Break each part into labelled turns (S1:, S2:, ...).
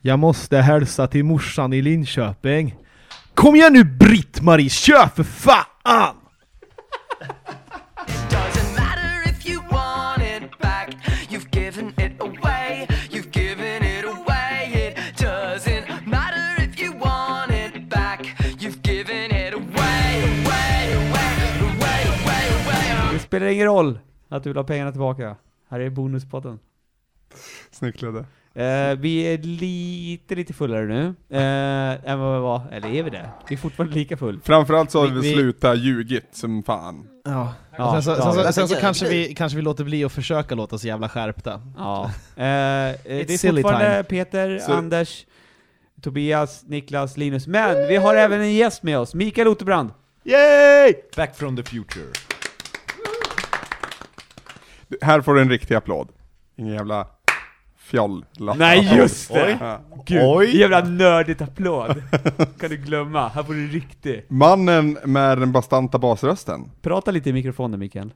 S1: Jag måste hälsa till morsan i Linköping. Kom igen nu Britt-Marie, kör för fan!
S2: It doesn't matter if you want it back. You've given it away. You've given it away. It doesn't matter if you want it back. You've given it away, away, away, away, away, away.
S3: Det spelar ingen roll att du vill ha pengarna tillbaka. Här är bonuspodden.
S4: Snyggt Ludde.
S3: Eh, vi är lite, lite fullare nu, eh, än vad vi var. Eller är vi det? Vi är fortfarande lika full.
S4: Framförallt så har vi,
S1: Vi- vi-
S4: slutat ljugit som fan.
S1: Ja.
S3: Ja,
S1: sen så,
S3: ja.
S1: sen så, sen så kanske, vi, kanske vi låter bli att försöka låta så jävla skärpta.
S3: Ja. Eh, eh, det är
S1: silly
S3: fortfarande
S1: time.
S3: Peter,
S4: Så-
S3: Anders, Tobias, Niklas, Linus. Men vi har även en gäst med oss, Mikael Oterbrand.
S1: Yay!
S5: Back from the future.
S4: Här får du en riktig applåd. Ingen jävla fjoll.
S3: Nej, just det!
S5: Oj.
S3: Gud,
S5: Oj.
S3: jävla nördigt applåd. kan du glömma. Här får du riktig.
S4: Mannen med den bastanta basrösten.
S3: Prata lite i mikrofonen, Mikael.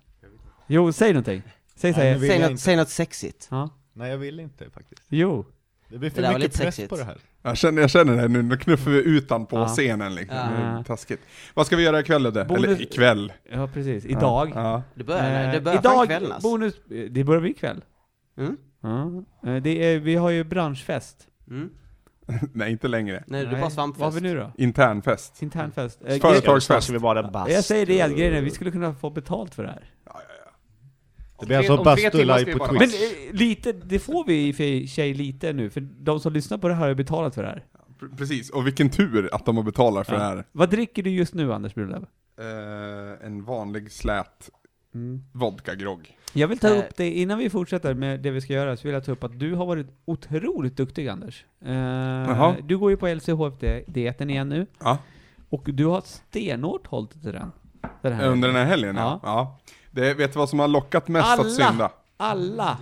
S3: Jo, säg någonting. Säg
S5: Nej,
S3: säg.
S5: men vi-
S6: Säg
S5: jag
S6: något,
S5: inte.
S6: säg något sexigt.
S3: Ja.
S5: Nej jag vill inte faktiskt.
S3: Jo.
S5: Det blir
S6: Det
S5: för
S6: där var
S5: mycket
S6: lite
S5: press
S6: sexigt.
S5: på det här.
S4: Jag känner, jag känner det nu, nu knuffar vi utan på
S3: Ja.
S4: scenen liksom.
S6: Ja.
S4: Det är Taskigt. Vad ska vi göra ikväll Ludde?
S3: Bonus-
S4: Eller ikväll?
S3: Ja, precis. Idag.
S4: Ja.
S6: Det börjar,
S3: Eh,
S6: det börjar fan
S3: idag,
S6: ikväll alltså.
S3: bonus, det börjar vi ikväll.
S6: Mm.
S3: Ja. Eh, Det är, vi har ju branschfest.
S6: Mm.
S4: Nej, inte längre.
S6: Nej, det är bara svampfest.
S3: Vad har vi nu då?
S4: Internfest.
S3: Internfest. Eh,
S4: Företag. Företagsfest.
S5: Ska vi vara en
S3: gre-
S5: bast.
S3: Jag säger det igen, grejen är, vi skulle kunna få betalt för det här.
S5: Det blir alltså
S4: Om tre- om tre
S5: bastu
S4: timmar
S5: live
S4: ska
S5: på
S4: vi
S3: Men
S5: Twitch.
S3: eh, lite, det får vi i och för sig lite nu, för de som lyssnar på det här har ju betalat för det här.
S4: Pr- Precis, och vilken tur att de har betalat för
S3: Ja.
S4: det här.
S3: Vad dricker du just nu Anders Brunlöv?
S4: Eh, en vanlig slät vodkagrogg.
S3: Jag vill ta
S6: Mm. Eh.
S3: upp det, innan vi fortsätter med det vi ska göra, så vill jag ta upp att du har varit otroligt duktig Anders. Eh, du går ju på LCHFD-dieten igen nu,
S4: Ja.
S3: och du har stenhårt hållit dig till den. den här.
S4: Under den här helgen ja.
S3: Ja.
S4: ja. Det, vet du vad som har lockat mest att
S3: Alla.
S4: synda?
S3: Alla,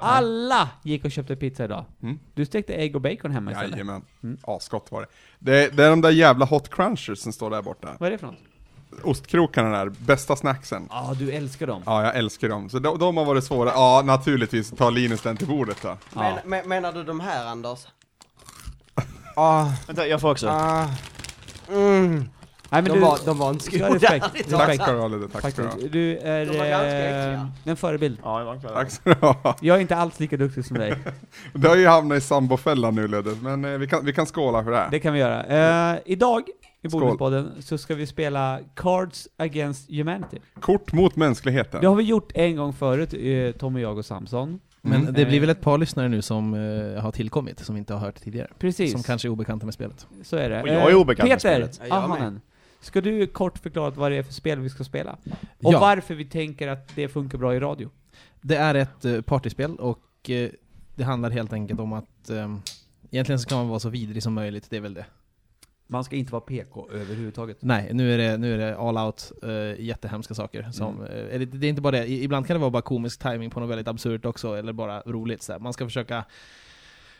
S3: alla gick och köpte pizza idag.
S4: Mm.
S3: Du stekte ägg och bacon hemma istället.
S4: Jajamän. Asgott var det. det. Det är de där jävla hot crunchers som står där borta.
S3: Vad är det för något?
S4: Ostkrokarna där, bästa snacksen.
S3: Ja, ah, du älskar dem.
S4: Ja, jag älskar dem. Så de, de har varit svåra. Ja, naturligtvis tar Linus den till bordet då.
S6: Men, men, menar du de här Anders? Ah,
S5: Vänta, jag får också.
S6: ah. Mm.
S3: Nej,
S6: De, var, de var inte
S3: ska ha
S6: goda.
S3: respekt.
S4: Tack
S3: respekt.
S4: ska du ha Ludde, tack ska du ha.
S3: Faktiskt. Du är
S6: De var ganska
S3: eh,
S6: äckliga.
S3: en förebild.
S5: Ja, det var en kväll.
S4: Tack ska du ha.
S3: Jag är inte alls lika duktig som dig.
S4: Du har ju hamnat i sambofällan nu Ludde, men eh, vi kan, vi kan skåla för det här.
S3: Det kan vi göra. Eh, idag i
S4: Skål.
S3: Bonuspodden så ska vi spela Cards Against Humanity.
S4: Kort mot
S3: Det
S4: mänskligheten.
S3: har vi gjort en gång förut, eh, Tommy, jag och Samson.
S1: Men det blir väl ett par lyssnare nu som eh, har tillkommit, som inte har hört tidigare.
S3: Precis.
S1: Som kanske är obekanta med spelet.
S3: Så är det.
S5: Och jag är
S3: Eh,
S5: obekant med
S3: Peter,
S5: spelet.
S6: Ja, jag
S3: Ahonen. Ska du kort förklara vad det är för spel vi ska spela? Och
S1: Ja.
S3: varför vi tänker att det funkar bra i radio?
S1: Det är ett eh, partyspel och eh, det handlar helt enkelt om att eh, egentligen så kan man vara så vidrig som möjligt, det är väl det.
S3: Man ska inte vara PK överhuvudtaget.
S1: Nej, nu är det, nu är det all out, eh, jättehemska
S3: Mm.
S1: saker. Som, eh, eller det, det är inte bara det, I, ibland kan det vara bara komisk timing på något väldigt absurt också, eller bara roligt. Så här. Man ska försöka...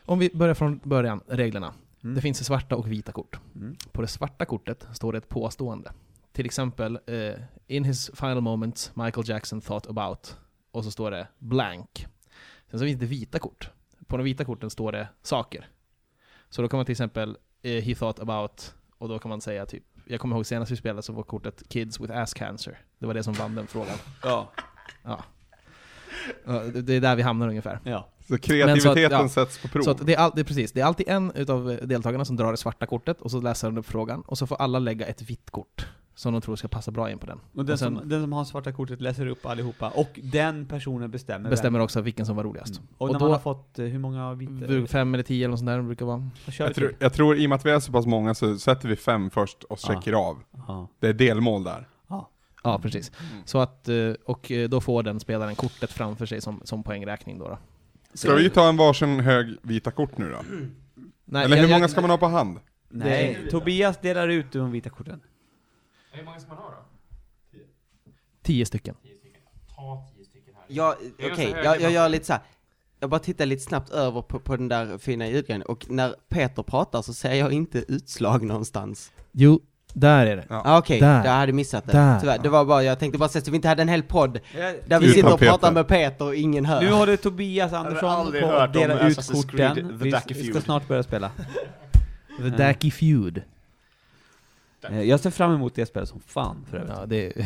S1: Om vi börjar från början, reglerna.
S3: Mm.
S1: Det finns svarta och vita kort.
S3: Mm.
S1: På det svarta kortet står det ett påstående. Till exempel, eh, in his final moments, Michael Jackson thought about. Och så står det blank. Sen så finns det vita kort. På de vita korten står det saker. Så då kan man till exempel, eh, he thought about, och då kan man säga typ, jag kommer ihåg senast vi spelade så var kortet kids with ass cancer. Det var det som vann den frågan.
S3: Ja.
S1: Ja. Ja, det- Det är där vi hamnar ungefär.
S3: ja.
S4: Så kreativiteten
S1: ja.
S4: sätts på prov.
S1: Så att det, är all, det, är precis, det är alltid en utav deltagarna som drar det svarta kortet, och så läser den upp frågan, och så får alla lägga ett vitt kort som de tror ska passa bra in på den.
S3: Och den,
S1: Och sen-
S3: som, den som har svarta kortet läser upp allihopa, och den personen bestämmer
S1: Bestämmer också vilken som var roligast.
S3: vem. Och,
S1: och
S3: när
S1: då-
S3: man har fått, eh, hur många vita?
S1: Bruk- Fem eller tio eller något sånt där brukar vara.
S3: Vad kör vi
S4: jag, tror,
S3: till?
S4: jag tror i och med att vi är så pass många så sätter vi fem först och checkar av.
S3: Ja.
S4: Det är delmål där.
S3: Mm.
S1: Ja, precis. Så att, eh, och eh, då får den spelaren kortet framför sig som, som poängräkning då. då.
S4: Ska vi ta en varsin hög vita kort nu då?
S1: Nej,
S4: Eller
S1: jag-
S4: hur
S1: jag-
S4: många ska man ha på hand?
S3: Nej, Tobias delar ut de vita korten.
S1: Tio stycken.
S6: Jag, okej, jag, jag gör lite så här. Jag bara tittar lite snabbt över på, på den där fina ljudgrejen och när Peter pratar så ser jag inte utslag någonstans.
S1: Jo, Där är det.
S4: Ja.
S6: Ah, Okej,
S1: Där.
S6: jag hade missat det.
S1: Där.
S6: Tyvärr. Det var bara, jag tänkte bara säga att vi inte hade en hel podd där vi
S4: Utan
S6: sitter och
S4: Peter.
S6: pratar med Peter och ingen hör.
S3: Nu har du Tobias
S5: Jag har
S3: Andersson
S5: aldrig
S3: på
S5: hört
S3: att
S5: om
S3: dela ut
S5: Assassin's Creed,
S3: korten.
S5: The
S3: Vi
S5: Ducky
S3: vi ska
S5: Feud.
S3: snart börja spela.
S1: The
S3: Mm.
S1: Dacky Feud.
S3: Eh, Jag ser fram emot det spelet som fan för övrigt.
S1: Ja, det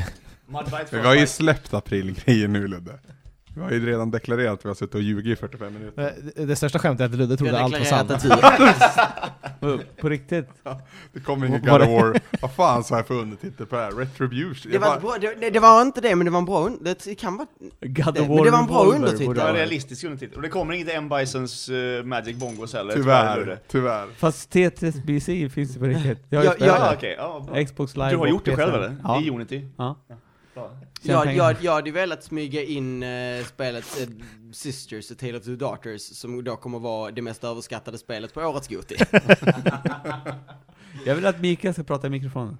S1: är,
S4: Vi har ju släppt aprilgrejer nu Ludde. Vi har ju redan deklarerat att vi har suttit och ljugit i 45 minuter.
S1: Eh, det, det största skämtet är att Ludde
S6: jag
S1: trodde allt var sant.
S6: deklarerar att jag ljuger.
S3: På riktigt.
S4: Det kommer ingen
S3: Var
S4: God
S3: det-
S4: of War. Vad fan sa jag för undertitel på det här? Retribution?
S6: det,
S4: Jag
S6: var
S4: bara,
S6: ett bra, det, nej, det var inte det, men det var en bra un- Det kan vara...
S3: God
S6: Det- men det var en bra
S3: Revolver
S6: undertitel.
S3: borde
S5: Det
S6: Ja.
S3: ha
S5: var en
S3: varit.
S5: realistisk undertitel. Och det kommer inget M. Bisons eh, Magic Bongos heller.
S4: tyvärr, tyvärr.
S3: Fast T3BC finns det på riktigt. Jag har ju
S6: Ja,
S5: Ja,
S3: spelat
S5: ja,
S3: det.
S5: okej. Ja, bra.
S3: Xbox live
S5: du har
S3: och
S5: gjort det själv
S3: PC.
S5: eller?
S3: Ja.
S5: I Unity?
S3: ja.
S5: Bra.
S3: Tjäna
S6: Jag,
S3: pengar.
S6: jag, jag hade ju velat smyga in eh, spelet eh, Sisters, A Tale of Two Daughters, som då kommer vara det mest överskattade spelet på årets Goti.
S3: Jag vill att Mikael ska prata i mikrofonen.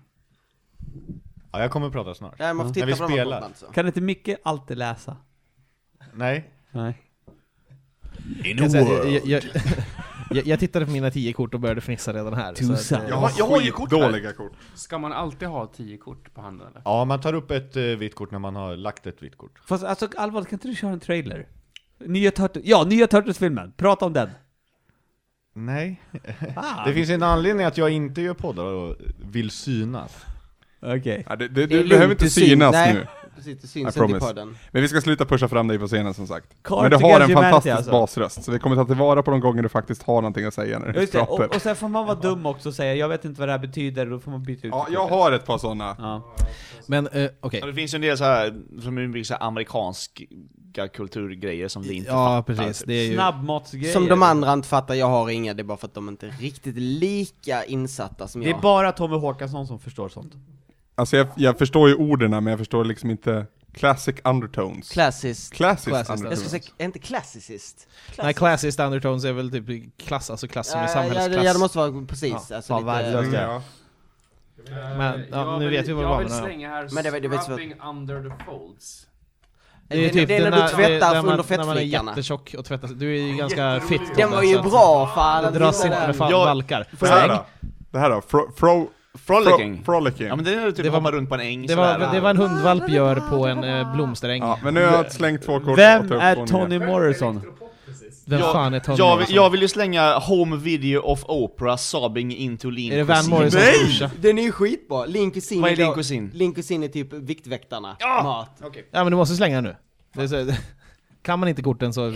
S7: Ja, jag kommer att prata snart.
S6: Nej, man får titta
S7: När vi
S6: på de här
S7: spelar.
S6: korten alltså.
S3: Kan inte Micke alltid läsa?
S7: Nej.
S3: Nej.
S1: Jag, kan säga att jag, jag, jag, jag tittade på mina tio kort och började fnissa redan här. så att, eh,
S3: Tusan.
S4: Jag har,
S5: jag har ju kort här.
S4: dåliga kort.
S8: Ska man alltid ha tio kort på handen eller?
S7: Ja, man tar upp ett eh, vitt kort när man har lagt ett vitt kort.
S3: Fast alltså allvarligt, kan inte du köra en trailer? Nya Turtles, ja, nya Turtles-filmen. Prata om den.
S7: Nej.
S3: Ah.
S7: Det finns en anledning att jag inte gör poddar och vill synas.
S3: Okej.
S4: Ja, det, det,
S6: Det är
S4: du
S6: lugnt,
S4: behöver inte
S6: det syns.
S4: synas
S6: Nej.
S4: nu.
S6: Precis, det
S4: I
S6: syns inte i
S4: promise.
S6: podden.
S4: Men vi ska sluta pusha fram dig på scenen som sagt.
S3: Carl
S4: Men du
S3: tycker
S4: har
S3: jag
S4: en
S3: är Jumanji,
S4: fantastisk
S3: alltså.
S4: basröst, så vi kommer ta tillvara på de gånger du faktiskt har någonting att säga när du
S3: Just det. Och,
S4: pratar.
S3: och sen får man vara dum också och säga jag vet inte vad det här betyder, då får man byta ut
S4: Ja,
S3: det
S4: jag
S3: kortet.
S4: har ett par sådana.
S3: Ja.
S1: Men eh, okej.
S5: Ja, det finns ju en del så här, som är mycket så här amerikanska kulturgrejer som vi inte
S1: Ja,
S5: fattar.
S1: precis.
S5: typ.
S1: Det är ju...
S3: Snabbmatsgrejer.
S6: Som de andra inte fattar, jag har inga, det är bara för att de inte är riktigt lika insatta som
S3: Det
S6: jag.
S3: är bara Tommy Håkansson som förstår sånt.
S4: Alltså jag, jag förstår ju orden men jag förstår liksom inte Classic undertones.
S6: Classist.
S4: Classic
S1: Classist,
S6: Jag
S4: undertones.
S6: skulle säga, är inte classicist?
S1: Nej, classist undertones är väl typ klass, alltså klass som är
S6: ja, ja, det-
S1: samhällsklass.
S6: ja, det måste vara precis. alltså,
S3: fan,
S6: lite,
S3: värdelöst.
S4: Mm, ja.
S9: Eh,
S1: Men, ja,
S8: jag
S1: nu
S8: vill,
S1: vet vi vad det
S8: Jag
S1: var,
S8: vill
S1: men ja.
S8: slänga här
S6: Men det var- det var-
S8: scrubbing under the folds.
S1: Det är ju
S6: Det-
S1: typ
S6: det är när
S1: den
S6: du
S1: här- det är
S6: tvättar
S1: när man-
S6: under
S1: När man är
S6: fettflickarna.
S1: jättetjock och tvättar sig. Du är ju ganska fit Tobbe,
S6: Den var ju
S1: så att-
S6: bra fan! att
S1: Dras
S6: titta
S1: inte
S6: där.
S1: med fan
S5: Jag-
S1: valkar.
S4: Det här då? Det här då? Fro, fro,
S5: Frolicking.
S4: fro, frolicking.
S5: Ja men det är ju typ
S1: Det var-
S5: hoppa runt på en äng
S1: Det
S5: sådär.
S1: var, det var en hundvalp gör på en eh, blomsteräng.
S4: Ja, men nu har jag slängt två kort och
S3: Vem
S4: tar upp två
S3: är
S4: nya.
S3: Tony Morrison?
S1: Vem
S5: Jag-
S1: fan är Tony
S5: jag, vill-
S1: Morrison?
S5: jag vill ju slänga Home Video of Oprah sobbing into Lean
S1: Är det Van
S5: Cuisine.
S1: Morrisons
S5: Nej!
S1: brorsa?
S6: Den är ju skitbra! Linkus in
S5: Vad är
S6: i då-
S5: Linkus in?
S6: Linkus in är typ Viktväktarna, mat.
S1: Ja men du måste slänga nu. Det är så, kan man inte korten så...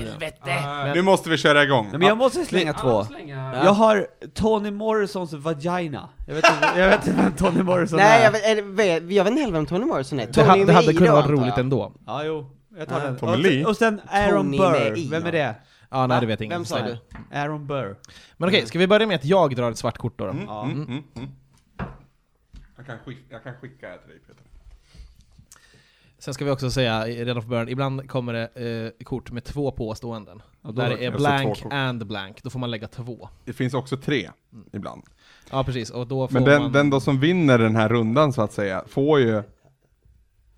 S4: Nu måste vi köra igång.
S3: Nej, men jag måste slänga två.
S8: Slänga...
S3: Jag har Tony Morrisons vagina. Jag vet inte, jag vet inte vem Tony Morrison
S6: Nej,
S3: är.
S6: jag vet, är det- vet, jag vet inte heller vem Tony Morrison är.
S1: Det,
S6: Tony
S1: ha, det
S6: med
S1: hade
S6: i
S1: kunnat
S6: då,
S1: vara
S6: antar
S1: roligt
S6: jag.
S1: ändå.
S3: Ja, jo. Jag tar den.
S4: Tommy
S3: Och-
S4: Lee?
S3: Och sen Aaron
S6: Tony med i,
S3: Burr. Vem
S6: ja.
S3: är det?
S1: Ja, nej det vet ingen.
S6: Vem sa du?
S3: Aaron Burr.
S1: Men okej, ska vi börja med att jag drar ett svart kort då? då?
S4: Mm, mm, mm. Jag, kan skicka, jag kan skicka det till dig Peter.
S1: Sen ska vi också säga eh, redan från början, ibland kommer det eh, kort med två påståenden.
S3: då
S1: Där det
S4: verkar
S1: är
S4: det.
S1: blank
S4: Så två kort.
S1: and blank, då får man lägga två.
S4: Det finns också tre ibland.
S1: Ja precis, och då får
S4: Men den,
S1: man...
S4: den då som vinner den här rundan så att säga, får ju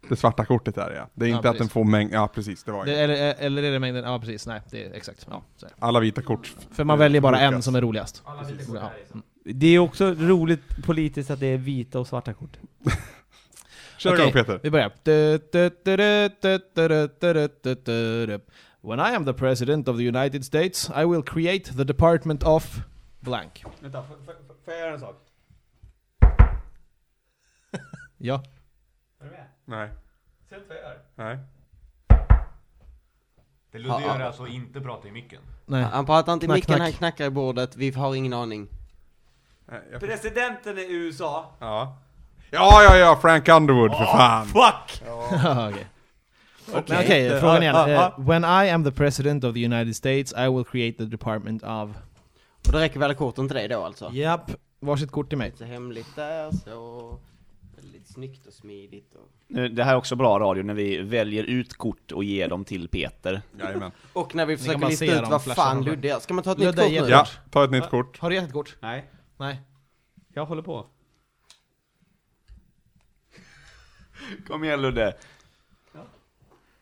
S4: det svarta kortet där ja. Det är
S1: Ja,
S4: inte att den
S1: precis.
S4: får mängd, ja precis det var
S1: det,
S4: det.
S1: eller, eh, eller är det mängden? Ja precis, nej det är exakt. Ja, så är det.
S4: Alla vita kort.
S1: För man väljer bara en
S4: Lukas.
S1: som är roligast. Ja.
S3: Det är också roligt politiskt att det är vita och svarta kort.
S4: Kör
S1: Okej,
S4: igång Peter.
S1: Vi börjar. Du, du, du, du, du, du, du, du, du, du, du, du. When I am the president of the United States I will create the department of blank.
S3: Vänta, får, jag göra en sak?
S1: Ja.
S4: Nej. Nej.
S7: Det
S6: Ludde gör är
S7: alltså inte prata i micken.
S1: Nej.
S6: Han pratar inte i
S1: Knack,
S6: micken,
S1: knack.
S6: han knackar i bordet, vi har ingen aning.
S4: Nej, jag-
S3: Presidenten i USA.
S4: Ja. Ja, ja, ja, Frank Underwood för fan!
S3: Fuck!
S1: Ah, Okej. Men okej, frågan igen.
S3: Ja, ja,
S1: Eh, when I am the president of the United States I will create the department of...
S6: Och då räcker väl korten till dig då alltså?
S1: Japp. Varsitt kort till mig.
S6: Lite hemligt där så, väldigt snyggt och smidigt och...
S5: Nu, Det här är också bra radio när vi väljer ut kort och ger dem till Peter.
S4: Jajamän.
S6: Och när vi försöker
S1: man
S6: lista
S1: se
S6: ut
S1: dem,
S6: vad
S1: flasha
S6: fan
S1: dem.
S6: Ludde gör. Ska man ta ett nytt
S1: Ludde
S6: kort
S1: är
S6: nu?
S4: Ja, ta ett nytt kort.
S1: Har du gett ett kort?
S3: Nej,
S1: Nej.
S3: jag håller på.
S5: Kom igen Ludde.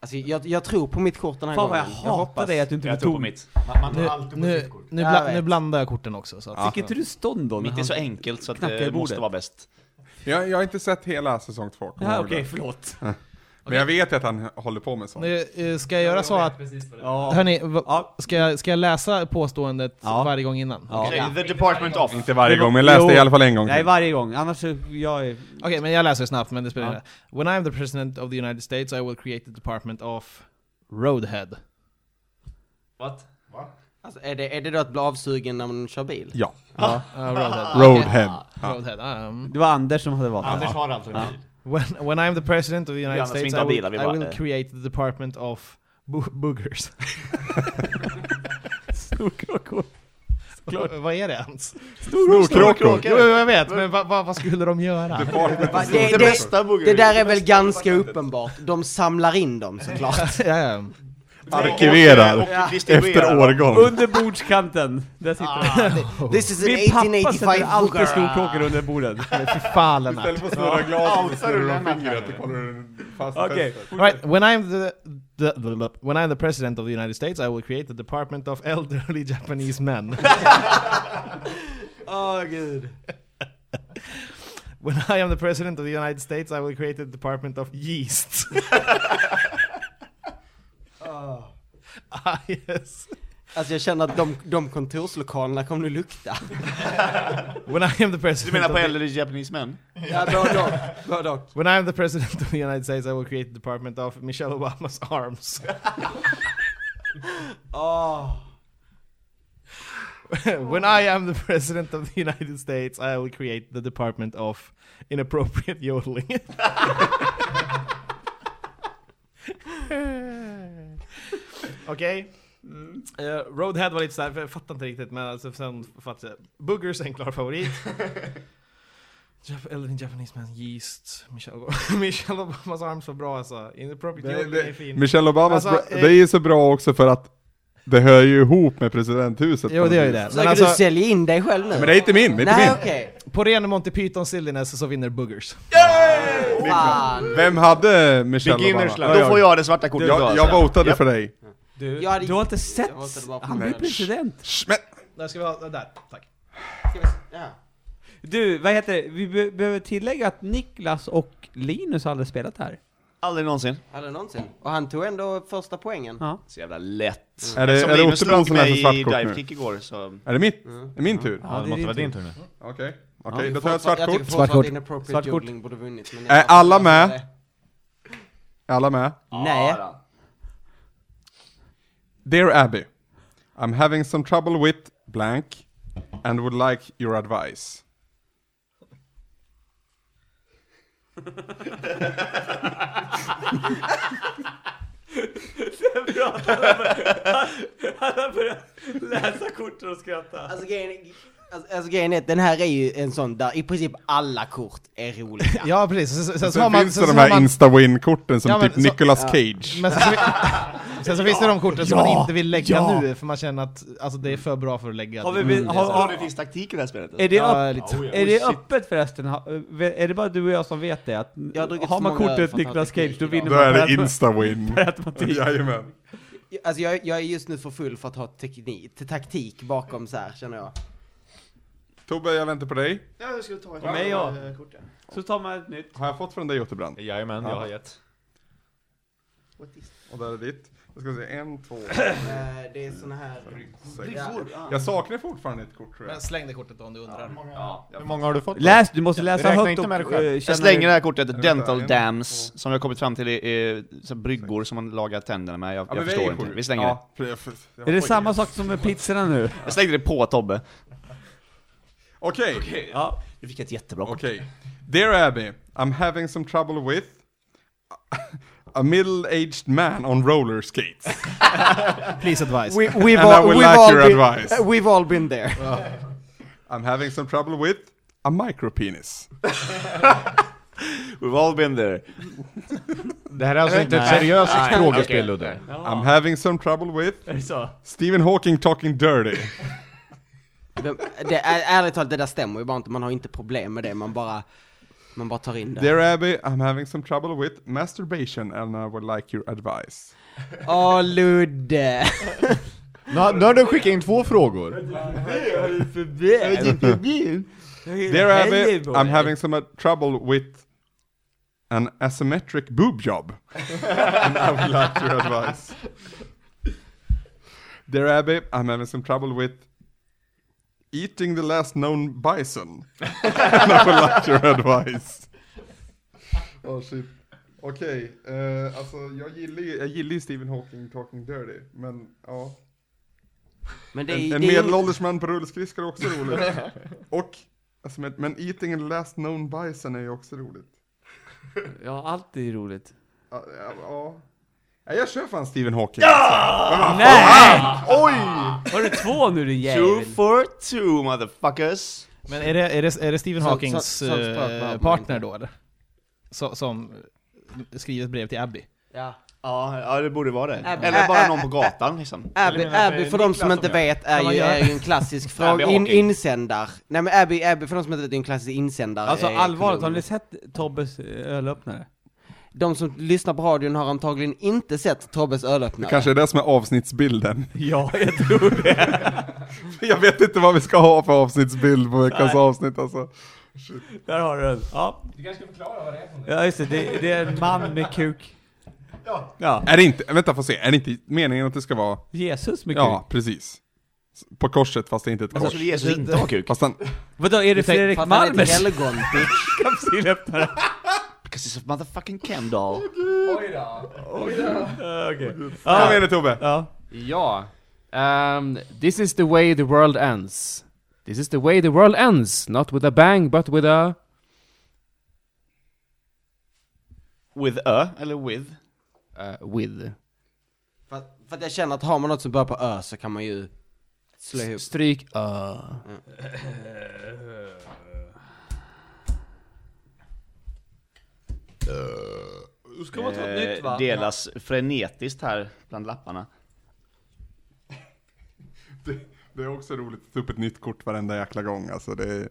S6: Alltså jag, jag tror på mitt kort den här
S3: Fan vad jag
S6: gången.
S3: hatar dig att du inte
S5: Jag tror på
S3: tog
S5: mitt.
S7: Man, man tar
S1: Nu,
S7: alltid på
S1: nu,
S7: sitt kort.
S1: nu,
S6: Jag
S1: bla,
S6: vet.
S1: nu blandar jag korten också. Så att,
S3: Fick inte du stånd då? när
S5: Mitt är
S3: han-
S5: så enkelt så att
S3: knackar i
S5: det
S3: bordet.
S5: måste vara bäst.
S4: Jag, jag har inte sett hela säsong två. kommer
S6: Ja,
S4: jag ihåg
S6: Okej,
S4: det.
S6: förlåt.
S4: Men jag vet att han håller på med sånt.
S1: Nu, eh, Ska jag göra så att...
S6: Ja.
S1: Hörni, va- ska, jag, ska jag läsa påståendet
S3: Ja.
S1: varje gång innan?
S3: Ja.
S5: Okej, The Department of.
S4: Inte varje gång, men jag läste i alla fall en gång
S3: Nej,
S4: till.
S3: varje gång. Annars så, jag är...
S1: Okej, men jag läser snabbt, men det spelar ingen
S3: Ja.
S1: roll. When I am the president of the United States I will create the department of Roadhead.
S8: What?
S6: Alltså, är, det, är det då att bli avsugen när man kör bil?
S4: Ja.
S1: Ah, roadhead.
S4: Roadhead.
S1: Ah, Roadhead, ah, mm.
S3: Det var Anders som hade valt
S7: Anders
S3: det.
S7: har alltså en bil.
S1: When, when I am the president of the
S5: Vi
S1: United
S5: andra som
S1: States
S5: inte
S1: I
S5: har
S1: will,
S5: bilar, vi
S1: I
S5: bara,
S1: will
S5: eh.
S1: create the department of bo- boogers. Vad är det ens?
S4: Snorkråkor.
S1: Jo, jo, jag vet, men vad- vad- vad skulle de göra?
S6: Va, Det, det, det, där är väl ganska uppenbart. De samlar in dem såklart.
S1: Ja, ja.
S4: Arkiverar.
S5: Och distribuerar.
S4: Efter årgång.
S3: Under bordskanten! Där sitter
S6: This is an
S3: Min pappa sätter
S6: Ah. Alltså, 1885
S3: alltid
S6: booger.
S3: snorkråkor under bordet.
S1: Fy fan Lennart.
S4: Istället för att snurra glaset så snurrar de fingret och kollar hur den fast
S3: Okej.
S4: fäster.
S1: Right, when I'm the, the, the when I'm the president of the United States, I will create the Department of Elderly Japanese Men.
S6: Åh gud.
S1: When I am the president of the United States, I will create the Department of Yeast. Ah, yes.
S6: Alltså jag känner att de, de kontorslokalerna kommer nu lukta.
S1: When I am the
S5: Du
S1: president.
S5: menar på
S1: of the-
S5: äldre Japanese men?
S6: Ja, både och. Både och.
S1: When I am the president of the United States, I will create the Department of Michelle Obamas arms.
S3: Ah.
S6: Åh.
S1: when I am the president of the United States, I will create the Department of Inappropriate Yodeling. Okej. Eh, Roadhead var lite såhär, för jag fattar inte riktigt men alltså, sen fattade jag. Boogers är en klar favorit. Jap- Eller en Japanese man, yeast, Michelle, Obama- Michelle Obamas arms var bra alltså. Inappropriate
S4: Det-
S1: yodeling är
S4: det-
S1: fin.
S4: Michelle Obamas,
S1: Alltså,
S4: bra-
S1: eh,
S4: det är ju så bra också för att det hör ju ihop med presidenthuset.
S1: Jo
S4: på
S1: det gör ju
S4: något
S1: det.
S6: Försöker
S1: Men alltså,
S6: du sälja in dig själv nu?
S4: vis. Men det är inte min, det är
S6: Nej
S4: inte min.
S6: okej.
S1: på ren Monty Python silliness så vinner Boogers.
S6: Fan.
S4: Vem hade Michelle
S7: Beginners
S4: Obama?
S7: luck.
S5: Då får jag det svarta kortet då,
S4: Jag,
S5: alltså.
S4: jag votade för dig.
S3: Du,
S6: Jag hade-
S3: du har inte sett...
S6: Jag måste bara-
S3: Han blir president.
S4: Sch, Men,
S1: Där ska vi ha, där, tack.
S6: Ska vi- ja.
S3: Du, vad heter det? Vi be- behöver tillägga att Niklas och Linus har aldrig spelat här.
S5: Aldrig någonsin.
S6: Hade någonsin. Och han tog ändå första poängen.
S3: Ja.
S5: Så jävla lätt.
S4: Är det-
S5: Som
S4: är det
S5: Linus
S4: Ottobron
S5: slog
S4: Eh, som läser
S5: mig i
S4: svartkort nu?
S5: divekick igår så...
S4: är det mitt?
S1: Mm.
S4: Är min tur?
S3: Ja, det
S7: det måste
S3: är
S7: vara
S3: din
S7: din tur nu.
S4: Okej, okej, då tar jag ett
S6: Fortfar-
S4: svart kort.
S6: tycker fortfarande
S1: Svart kort.
S6: Inappropriate
S3: Svart kort.
S6: juggling borde vunnit. men
S4: Är
S6: jag-
S4: alla med? Är alla med?
S6: Nej.
S4: Dear Abby, I'm having some trouble with blank and would like your advice.
S3: Läsa korten och skratta.
S6: Alltså grejen, alltså, alltså grejen är att den här är ju en sån där i princip alla kort är roliga.
S1: Ja precis, sen, sen, så har
S4: Sen
S1: man...
S4: finns
S1: sen,
S4: det
S1: så
S4: de
S1: har
S4: här Insta-win-korten som
S1: Ja, men
S4: typ
S1: så-
S4: Nicolas Cage.
S1: men sen, så, sen så finns det de korten som man
S3: Ja!
S1: inte vill lägga
S3: Ja!
S1: nu för man känner att alltså, det är för bra för att lägga.
S3: Har vi,
S1: Mm.
S3: har,
S5: Ja,
S3: har,
S5: det finns taktik i det här spelet.
S3: är det,
S1: Ja,
S3: öpp,
S1: lite.
S3: är
S6: Oh,
S3: det öppet förresten? Ha- eh, Är det bara du och jag som vet det? Att
S6: Jag har druckit
S3: har
S6: så
S3: man
S6: många
S3: kortet
S6: öl för att
S3: Niklas
S6: ha teknik
S3: Cage, då
S6: idag.
S3: vinner
S4: Då
S3: man
S4: är
S3: per
S4: det
S3: automatik.
S4: Insta-win.
S3: Per automatik.
S4: Jajamän.
S6: Alltså jag, jag är just nu för full för att ha teknik, till taktik bakom så här känner jag.
S4: Tobbe, jag väntar på dig.
S5: Ja, jag skulle ta ett
S3: mig, ja.
S5: kort. ja.
S3: Så tar man ett nytt.
S4: Har jag fått från dig Otterbrand?
S7: Jajamän, jag har gett.
S4: Och där är ditt. Då ska vi se, en, två,
S6: Eh, det är såna här...
S4: sex.
S6: Ja.
S4: Jag saknar fortfarande ett kort tror jag.
S1: Men Släng det kortet då om du undrar.
S5: Ja, jag
S7: Hur många har du fått?
S3: Läs, du måste läsa
S7: räkna
S3: högt
S7: inte med det själv.
S3: eh,
S5: Jag
S3: känner-
S5: slänger det här kortet, dental
S4: en,
S5: dams, som jag har kommit fram till är, är så här bryggor som man lagar tänderna med, jag,
S4: Ja, men
S5: jag
S4: vi är
S5: förstår
S4: ju
S5: inte.
S4: sju.
S5: Vi slänger det.
S4: Ja, för jag- för- jag
S3: Är
S4: var
S3: det
S4: på
S3: samma
S4: ingen.
S3: sak som med pizzorna nu?
S5: Jag slängde det på Tobbe.
S4: Okej,
S3: Ja.
S5: Du fick ett jättebra kort.
S4: okej. Dear Abby, I'm having some trouble with a middle-aged man on roller skates.
S1: Please advice.
S6: We, we've,
S4: And I
S6: all, we've,
S4: will like
S6: all
S4: your
S6: been,
S4: advice.
S6: eh, we've all been there.
S4: I'm having some trouble with a micropenis.
S5: We've all been there.
S7: Det här är alltså inte ett seriöst frågespel Ludde.
S4: I'm having some trouble with
S3: Är det så?
S4: Stephen Hawking talking dirty.
S6: De- det, är, ärligt talat, det där stämmer ju bara inte. Man har inte problem med det, man bara... Man bara tar in det.
S4: Dear Abby, I'm having some trouble with masturbation and I would like your advice.
S6: Åh Ludde!
S7: Nu har nu har du skickat in två frågor.
S4: There I have it. I'm having some uh, trouble with an asymmetric boob job. and I would like your advice. Dear Abby, I'm having some trouble with eating the last known bison. and I would like your advice. Oh shit. Okej, eh, alltså jag gillar, ju, jag gillar ju Stephen Hawking Talking Dirty, men ja.
S6: Men det är,
S4: En,
S6: det är
S4: en medelålders man på rullskridskor är också roligt. Och, alltså, men, men Eating and Last Known Bison är ju också roligt.
S3: Ja, allt är roligt.
S4: Ja, ja, ja. Nej, jag kör fan Stephen Hawking. alltså. Ja! Oj!
S3: Har du två nu din
S5: Two
S3: jävel?
S5: for two motherfuckers!
S1: Men är det, är det, är det Stephen
S6: Så-
S1: Hawkings
S6: så- så-
S1: eh,
S6: så- så-
S1: partner då eller? Så, som skriver ett brev till Abby?
S6: Ja.
S5: Ja, ja, det borde vara det.
S6: Abby.
S5: Eller
S6: Ä-
S5: bara
S6: ä-
S5: någon på gatan liksom.
S6: Abby,
S8: Eller menar
S6: Abby
S8: för
S6: för de
S8: Niklas
S6: som inte
S8: som jag.
S6: vet är
S1: man
S6: ju,
S1: göra?
S6: är ju en klassisk fråga,
S5: Abby
S6: in,
S5: Hawking.
S6: insändar. Nej men Abby, Abby för de som inte vet är ju en klassisk insändare.
S3: Alltså
S6: eh,
S3: allvarligt, har
S6: kolumn.
S3: ni sett Tobbes eh, ölöppnare?
S6: De som lyssnar på radion har antagligen inte sett Tobbes
S4: Det
S6: ölöppnare.
S4: kanske är det som är avsnittsbilden.
S3: Ja, jag tror det.
S4: Jag vet inte vad vi ska ha för avsnittsbild på veckans
S3: Nej.
S4: avsnitt alltså.
S3: Där har du den. Ja,
S8: Du kanske ska förklara vad det är för något?
S3: ja just det, det, det är en man med kuk. Ja.
S4: Är det inte, vänta får se, är det inte meningen att det ska vara,
S3: Jesus med kuk.
S4: ja precis. På korset fast det är inte ett
S5: Alltså
S4: kors.
S5: skulle Jesus inte ha kuk?
S4: Fast han,
S3: Vadå, är det
S1: tänk-
S3: Fredrik
S6: För att han är ett
S3: Malmers
S6: helgon, bitch.
S3: kapsylöppnare?
S5: Because it's a motherfucking Kendall.
S8: Oj då.
S4: kom igen nu Tobbe!
S3: Ja.
S9: Ja. Um, this is the way the world ends. This is the way the world ends. Not with a bang, but with a...
S5: With a, eller with.
S9: eh, with.
S6: För, att- för att jag känner att har man något som börjar på ö så kan man ju slå ihop.
S9: Stryk uh.
S3: Ska man ta
S5: eh, delas frenetiskt här bland lapparna.
S4: Det, det är också roligt att ta upp ett nytt kort varenda jäkla gång alltså, det är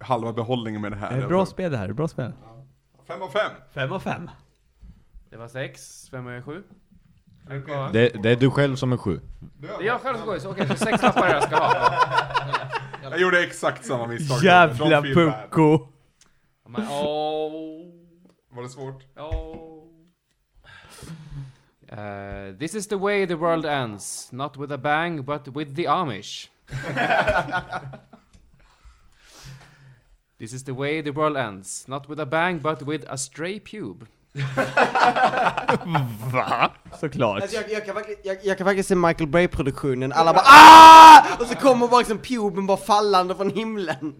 S4: halva behållningen med det här.
S3: Det är bra spel det här, det är bra spel.
S4: Fem av fem!
S3: Fem av fem.
S9: Det var sex, fem är sju.
S7: Det, det är du själv som är sju.
S9: Det är jag själv som går, så okej, så sex lappar jag ska ha.
S4: Jag gjorde exakt samma misstag.
S3: Jävla
S4: Don't feel bad.
S3: pucko!
S9: Men, åh,
S4: Var det svårt?
S9: åh. Eh, oh. this is the way the world ends. Not with a bang, but with the Amish. this is the way the world ends. Not with a bang, but with a stray pube.
S3: Såklart.
S6: Alltså jag, jag, kan verkligen, jag, jag kan verkligen se Michael Bay-produktionen, alla bara ah! Och så kommer bara liksom puben bara fallande från himlen.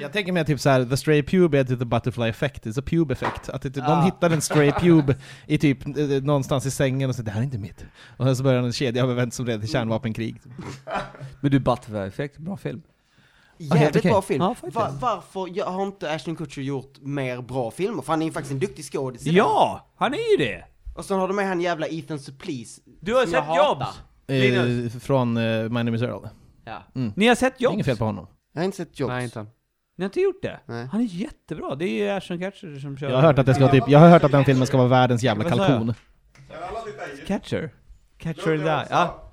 S1: Jag tänker mig typ såhär, the stray pube är typ the butterfly effect, it's a pube effect. Att typ,
S6: Ah.
S1: de hittar en stray pube i typ, eh, någonstans i sängen och så det här är inte mitt. Och sen så börjar en kedja av event som leder till kärnvapenkrig.
S3: Men du, Butterfly Effect, bra film.
S1: helt
S6: Jävligt
S1: okej.
S6: bra film.
S3: Ja, faktiskt.
S6: Va- varför jag har inte Ashton Kutcher gjort mer bra filmer? För han är ju faktiskt en duktig skådis i den.
S3: Ja! Han är ju det!
S6: Och sen har de med han jävla Ethan Suplees.
S3: Du har
S6: Som jag
S3: sett
S6: hatar.
S3: Jobs!
S1: Eh,
S3: Linus.
S1: från eh, My Name Is Earl.
S6: Ja.
S3: Ni har sett
S1: Det är
S3: Jobs?
S1: inget fel på honom.
S6: Jag har inte sett Jobs.
S9: Nej, inte.
S3: Ni har inte gjort det?
S6: Nej.
S3: Han är jättebra, det är ju Ashton Catcher som kör.
S1: Jag har hört att, det ska, vara typ, jag har hört att den filmen ska vara världens jävla
S3: Vad sa jag?
S1: kalkon.
S3: Catcher? Catcher in the Eye, ja.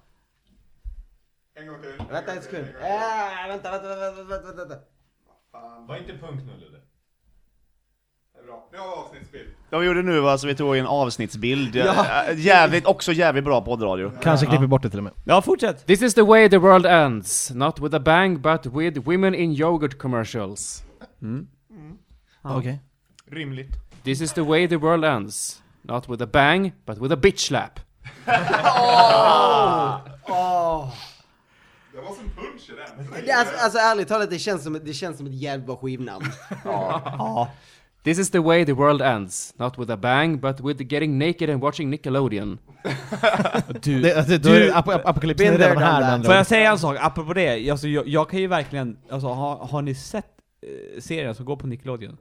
S4: En gång till.
S6: Vänta en sekund. Ah, vänta, vänta, vänta, vänta, vänta, vänta.
S8: Var inte punknull
S4: Det är bra. Nu har vi avsnittsbild.
S5: De gjorde nu var alltså, vi tog en avsnittsbild. Eh, Jävligt, också jävligt bra poddradio.
S1: Kanske klipper bort det till och med.
S3: Ja, fortsätt!
S9: This is the way the world ends. Not with a bang, but with women in yogurt commercials.
S1: Okej.
S8: Rimligt.
S9: This is the way the world ends. Not with a bang, but with a bitch slap.
S4: Det var som punch i den.
S6: Det, alltså, alltså ärligt talat, det känns som, det känns som ett jävla skivnamn.
S9: This is the way the world ends. Not with a bang, but with getting naked and watching Nickelodeon.
S1: Du, det, det, då är det, ap- ap- apokalypsen är
S6: Been there,
S1: redan här
S6: done
S1: med andra
S6: that.
S3: Får
S1: ord.
S3: jag säga en sak, apropå det, alltså, jag, jag kan ju verkligen, alltså har, har ni sett eh, serien som går på Nickelodeon?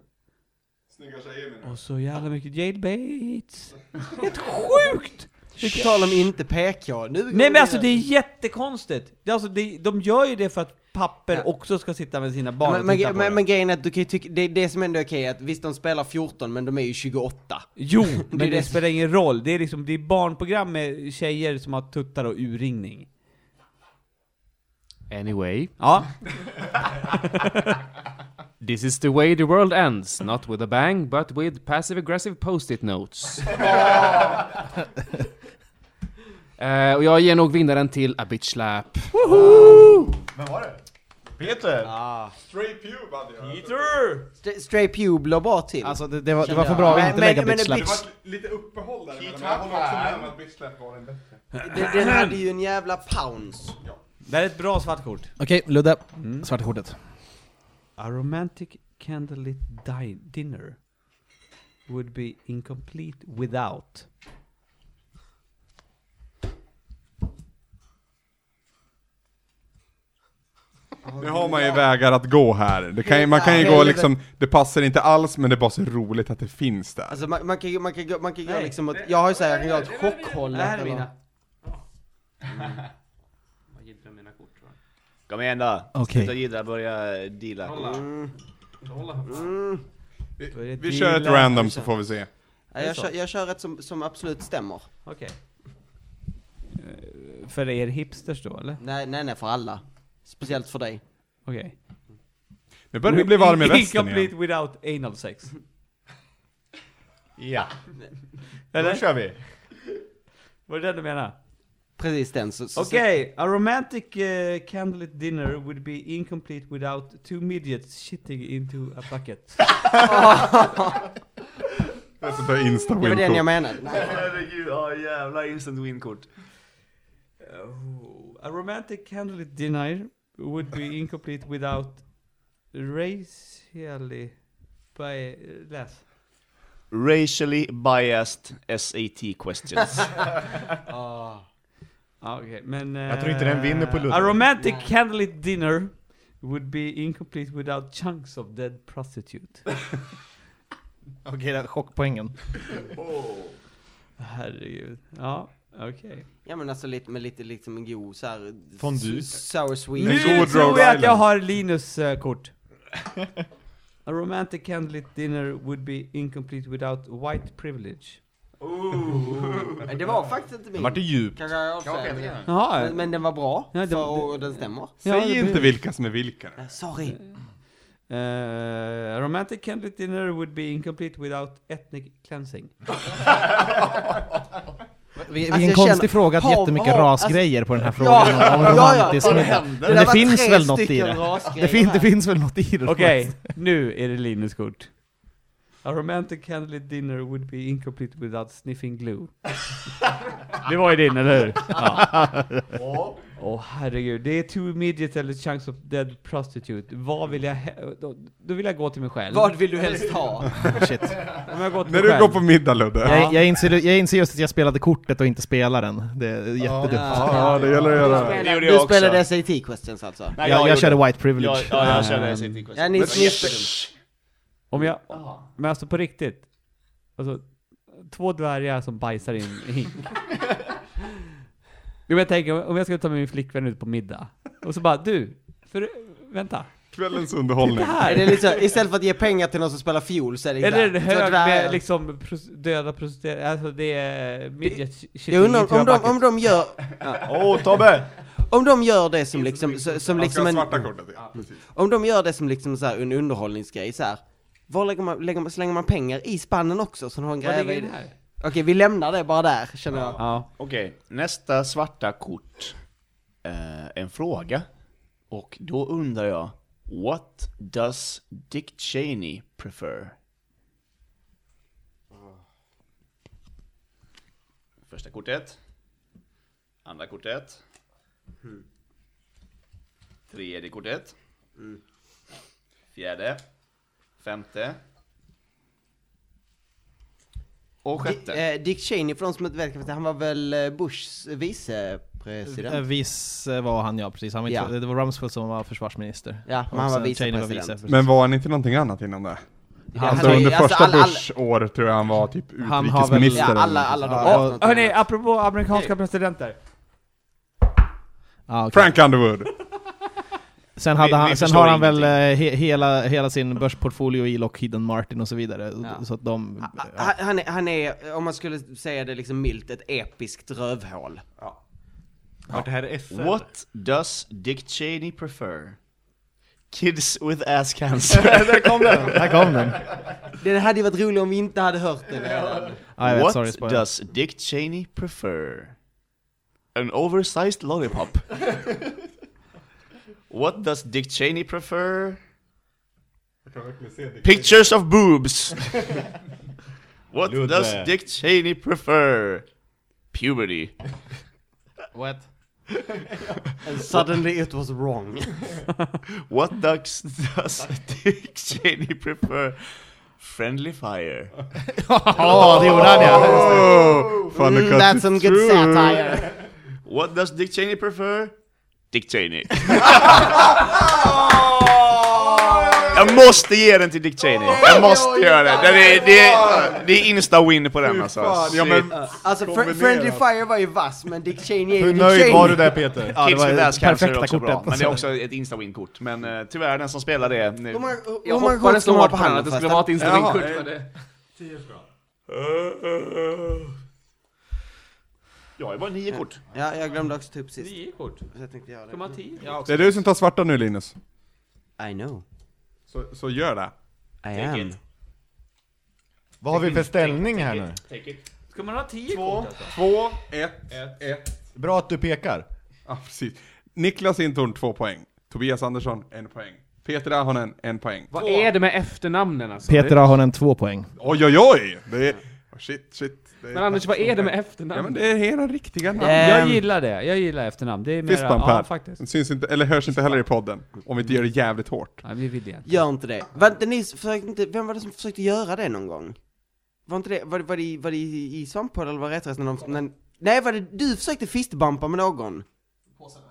S4: Snygga tjejer menar
S3: Och så jävla mycket Jade Bates! Helt sjukt!
S6: På tal om inte PK, nu går
S3: Nej
S6: vi
S3: men alltså det
S6: vidare.
S3: är jättekonstigt! Det, är alltså, det, de gör ju det för att papper
S6: Ja.
S3: också ska sitta med sina barn
S6: men,
S3: och titta
S6: men,
S3: på
S6: men,
S3: det.
S6: men grejen är att du kan ju tycka, det, det som ändå är okej är att visst de spelar 14 men de är ju 28.
S3: Jo,
S6: Det
S3: men
S6: är
S3: det
S6: det-
S3: spelar ingen roll. Det är liksom, det är barnprogram med tjejer som har tuttar och urringning.
S9: Anyway,
S3: Ja,
S9: this is the way the world ends. Not with a bang, but with passive aggressive post-it notes. Eh, och jag ger nog vinnaren till a bitch slap.
S8: Vem var det? Peter!
S6: Ah.
S4: Straight pube hade jag.
S8: Peter!
S6: St- Stray Pube la bara till.
S1: Alltså det, det, var, det var
S6: Kände
S1: för
S6: jag.
S1: bra att
S6: Men-
S1: inte lägga
S6: men- men
S1: bitch
S6: en
S1: slap.
S4: Det var lite uppehåll där men jag
S8: Keith
S4: håller också med om
S8: Hackman.
S4: att bitch slap var en bättre.
S6: den, den hade ju en jävla pounce.
S3: det här är ett bra svart kort.
S1: Okej, Ludde. Svarta kortet.
S3: A romantic candlelit di- dinner would be incomplete without.
S4: Nu har man ju vägar att gå här. Det kan, ju- man kan ju
S6: Hela
S4: gå
S6: livet.
S4: liksom, det passar inte alls men det är bara så roligt att det finns där.
S6: Alltså man, man kan ju, man kan, gå- man kan gå
S3: Nej.
S6: liksom åt, jag har ju såhär, jag kan gå åt chockhållet.
S3: Det här är
S6: eller-
S3: mina.
S5: Kom igen då.
S1: Okej.
S5: Sluta gidra, börja deala.
S6: Mm, mm.
S3: Då är det
S4: Vi kör ett
S3: dealar.
S4: random så får vi se.
S6: Ja,
S3: Är det
S6: Jag,
S3: så?
S6: kör, jag kör ett som, som absolut stämmer.
S3: Okej. Eh, För er hipsters då, eller?
S6: Nej, nej, nej för alla. Speciellt för dig.
S3: Okej.
S4: Nu börjar vi bli varm i västen
S3: Incomplete
S4: igen.
S3: without anal sex.
S5: Ja.
S3: Eller?
S5: kör vi.
S3: Var det det du menade?
S6: Precis den. Så, så,
S3: Okej, a romantic eh, candlelit dinner would be incomplete without two midgets shitting into a bucket.
S4: Det är sånt där
S6: Så, det var den jag
S4: insta-win-kort.
S6: menade. Nej.
S5: Herregud, ja jävla instant win-kort.
S3: Oh, a romantic candlelit dinner would be incomplete without racially by läs.
S5: Racially biased SAT questions.
S6: Ah.
S3: Ja, okej, men...
S7: Jag tror inte den vinner på
S3: eh,
S7: Ludde.
S3: A romantic
S6: Nej.
S3: candlelit dinner would be incomplete without chunks of dead prostitute.
S1: Okej, okay, chockpoängen.
S3: Herregud. Ja, okej.
S6: Ja men alltså lite, med lite liksom en god såhär...
S7: Fondue.
S6: s- Sour sweet.
S4: En
S3: Nu
S4: god
S3: tror
S4: Rhode
S3: jag att jag
S4: Island.
S3: har Linus eh, kort. A romantic candlelit dinner would be incomplete without white privilege.
S6: Det var faktiskt inte min.
S7: Den vart djup.
S6: Kanske jag avslöjade.
S3: Jaha,
S6: Men, men den var bra,
S3: Ja, det-
S6: för, och den stämmer.
S3: Ja, det
S4: Säg inte vilka som är vilka nu.
S6: Eh, Sorry.
S3: eh, a romantic candlelit dinner would be incomplete without ethnic cleansing.
S1: Vilken
S6: Alltså, jag
S1: konstig
S6: känner-
S1: fråga att
S6: Har-
S1: jättemycket
S6: har-
S1: rasgrejer på den här frågan om romantism.
S6: vad
S1: Men det
S6: var
S1: finns
S6: tre
S1: väl något i
S6: stycken
S1: det?
S6: rasgrejer
S1: det, fin, det
S6: här.
S1: finns väl något i det?
S3: Okej, nu är det Linus kort. A romantic candlelit dinner would be incomplete without sniffing glue. det var ju din, eller hur? Ja. Åh herregud, det är two midget eller chunks of dead prostitute. Vad vill jag... he- Då, då vill jag gå till mig själv.
S6: Vad vill du helst ha?
S1: Shit.
S3: Om jag går till
S4: När
S3: mig
S4: du
S3: själv.
S4: går på middag Ludde.
S1: Jag, jag, inser, jag inser just att jag spelade kortet och inte spelaren. Det är jättedumt.
S4: Ja, det gäller att göra.
S5: Det gjorde
S6: Du
S5: jag också.
S6: spelade SAT questions alltså?
S5: Nej,
S1: jag, jag
S5: gjorde-
S1: körde white privilege.
S5: Ja, ja, jag
S1: Ehm,
S5: körde SAT questions.
S6: Ja, ni,
S4: Men-
S6: ni,
S3: Om jag... Men alltså på riktigt. Alltså, två dvärgar som bajsar i en hink. jo, jag tänker om jag skulle ta med min flickvän ut på middag. Och så bara, du, för, vänta.
S4: Kvällens
S3: Det
S4: underhållning.
S6: är
S3: här!
S6: det lite så, istället för att ge pengar till någon som spelar fiol så är det
S3: Eller en
S6: där. Så
S3: hög
S6: där.
S3: med liksom pros- döda prostituerade, alltså det är midget shit
S6: Jag undrar om de, om de gör,
S5: Åh Tobbe!
S6: om de gör det som liksom, så- som
S4: Han ska
S6: liksom
S4: ha
S6: en,
S4: svarta kortet, ja. Precis.
S6: om de gör det som liksom så här en underhållningsgrej så här. Var lägger man, lägger man, slänger man pengar i spannen också så de har en
S3: Vad
S6: gräva
S3: ligger
S6: i
S3: det
S6: det?
S3: här?
S6: Okej, vi lämnar det bara där känner jag.
S3: Ja.
S5: Okej, nästa svarta kort. Eh, en fråga. Och då undrar jag, what does Dick Cheney prefer? Första kortet. Andra kortet. Tredje kortet. Fjärde. Femte. Och
S6: Di-
S5: sjätte.
S6: eh, Dick Cheney, för de som inte vet, han var väl eh, Bushs
S1: Eh,
S6: vicepresident?
S1: Vice var han ja, precis. Han var inte,
S6: Ja.
S1: Det var Rumsfeld som var försvarsminister.
S6: Ja,
S1: Och
S6: men han var
S1: sen Cheney var
S6: vicepresident.
S1: vice.
S4: Men var han inte någonting annat innan det?
S6: Ja, han
S4: Alltså
S6: har ju-
S4: under
S6: alltså,
S4: första
S6: alla- alla-
S4: Bush år tror jag han var typ
S1: Han har väl-
S4: utrikesminister
S6: Ja,
S4: eller
S6: alla,
S4: något.
S6: alla de
S1: Ja,
S6: något
S3: Hörni,
S6: annat.
S3: apropå amerikanska presidenter.
S1: Ja, Ah, okej.
S4: Frank Underwood!
S1: Sen, hade
S5: Vi- vi
S1: han, sen
S5: förstår
S1: har han väl eh, he, hela, hela sin börsportfolio i Lockheed Martin och så vidare.
S6: Ja. Ah,
S1: Så att de...
S6: Ha-
S1: ja.
S6: ha- Han är, han är, om man skulle säga det liksom milt, ett episkt rövhål.
S8: Vart det här är SR?
S5: What does Dick Cheney prefer? Kids with ass cancer.
S8: Där kom den!
S7: Här kom den.
S6: Det hade ju varit roligt om vi inte hade hört den redan.
S1: Ah, jag vet,
S5: What
S1: sorry, spoiler.
S5: does Dick Cheney prefer? An oversized lollipop. What does Dick Cheney prefer?
S4: Jag kan verkligen se det.
S5: Pictures of boobs. What
S7: Ludde.
S5: does Dick Cheney prefer? Puberty.
S1: What?
S6: And suddenly it was wrong.
S5: What does, does Dick Cheney prefer? Friendly fire.
S7: Ja, det gjorde han ja!
S4: Oh, fan, det kan-
S6: That's some good satire.
S5: What does Dick Cheney prefer? Dick Cheney. Jag måste ge den till Dick Cheney. Jag måste göra det. Den är, det, är, det är insta-win på den alltså.
S4: fan, ja, men,
S6: Alltså, fr-
S4: Kombinerat.
S6: Friendly Fire var ju vass, men Dick Cheney är ju
S7: Hur
S6: Dick
S7: nöjd
S6: Cheney.
S7: var du där Peter?
S5: Ja, Kids with ass cancer är
S1: perfekta
S5: också bra,
S1: kortet.
S5: men det är
S7: alltså.
S5: också ett insta-win-kort. Men eh, tyvärr, den som spelar det nu...
S6: Hur många, hur
S9: Jag
S6: många
S9: hoppades
S6: ska
S9: så
S6: de ha
S9: hårt
S6: på
S9: på den
S6: handen
S9: att det skulle
S6: förresten?
S9: vara ett
S4: Jaha,
S9: instrumentkort
S4: eh,
S9: men det...
S5: Jag har bara nio kort.
S6: Ja, jag glömde också ta upp sist.
S3: Nio kort.
S6: Så jag tänkte göra
S3: Ska man ha
S6: det.
S3: tio?
S4: det är du som tar svarta nu Linus.
S6: I know.
S4: Så, så gör det.
S6: I am.
S7: Vad har vi för ställning här nu?
S3: Ska man ha tio
S4: Två,
S3: kort alltså?
S4: två, ett, ett. ett.
S7: Bra att du pekar.
S4: Ja, precis. Niklas Intorn, två poäng. Tobias Andersson, en poäng. Peter Ahonen, en poäng.
S9: Vad är det med efternamnen alltså?
S1: Peter Ahonen, två poäng.
S4: Oj, oj, oj! Det är... oh, Shit, shit. Det är
S9: Men Anders, vad är det med
S4: Ja, men
S9: efternamnen?
S4: det är hela riktiga namn.
S6: Ehm,
S3: Jag gillar det, jag gillar efternamn. Det är mera...
S4: Fistbump
S3: Ja,
S4: här.
S3: faktiskt.
S4: Den syns inte, eller hörs inte heller i podden. Om vi inte gör det jävligt hårt.
S3: Nej, vi vill det inte.
S6: Gör inte det. Var inte ni, försökte inte, vem var det som försökte göra det någon gång? Var inte det, var det, var det, i- var det i, i Svamppodden eller var det rätt när de, när, nej var det du försökte fistbumpa med någon?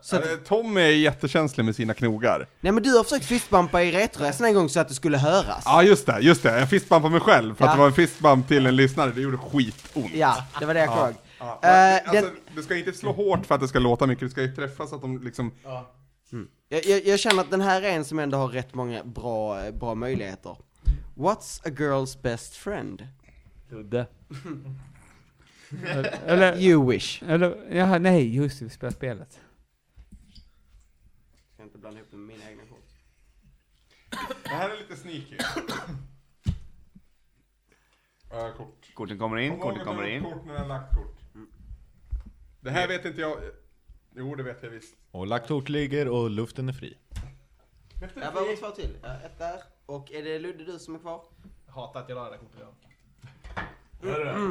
S6: Så att,
S4: Eh, Tommy är jättekänslig med sina knogar.
S6: nej men du har försökt fistbumpa i Retresan en gång så att det skulle höras.
S4: Ja, ah, just det, just det. En fistbump på mig själv. För
S6: Ja.
S4: att det var en fistbump till en lyssnare. Det gjorde skitont.
S6: Ja, det var det jag kom ihåg.
S4: Ja,
S6: Eh,
S4: men, alltså,
S6: den-
S4: Du ska inte slå hårt för att det ska låta mycket. Du ska ju träffa så att de liksom...
S6: Jag, jag, jag känner att den här är en som ändå har rätt många bra, bra möjligheter. What's a girl's best friend?
S3: Ludde. eller,
S6: You wish.
S3: eller, jaha, nej, just det, vi spelar spelet.
S6: Ska inte blanda ihop med mina egna kort.
S4: Det här är lite sneaky. uh, kort.
S5: Korten kommer in,
S4: Kom ihåg
S5: korten
S4: att
S5: kommer
S4: dra upp
S5: in.
S4: Kort när jag har lagt kort. Det här vet inte jag. Jo, det vet jag visst.
S7: Och laktot ligger och luften är fri.
S6: Jag behöver två till. Ja, ett där. Och är det Ludde du som är kvar?
S1: Hatar att jag la det kortet idag.
S4: Jag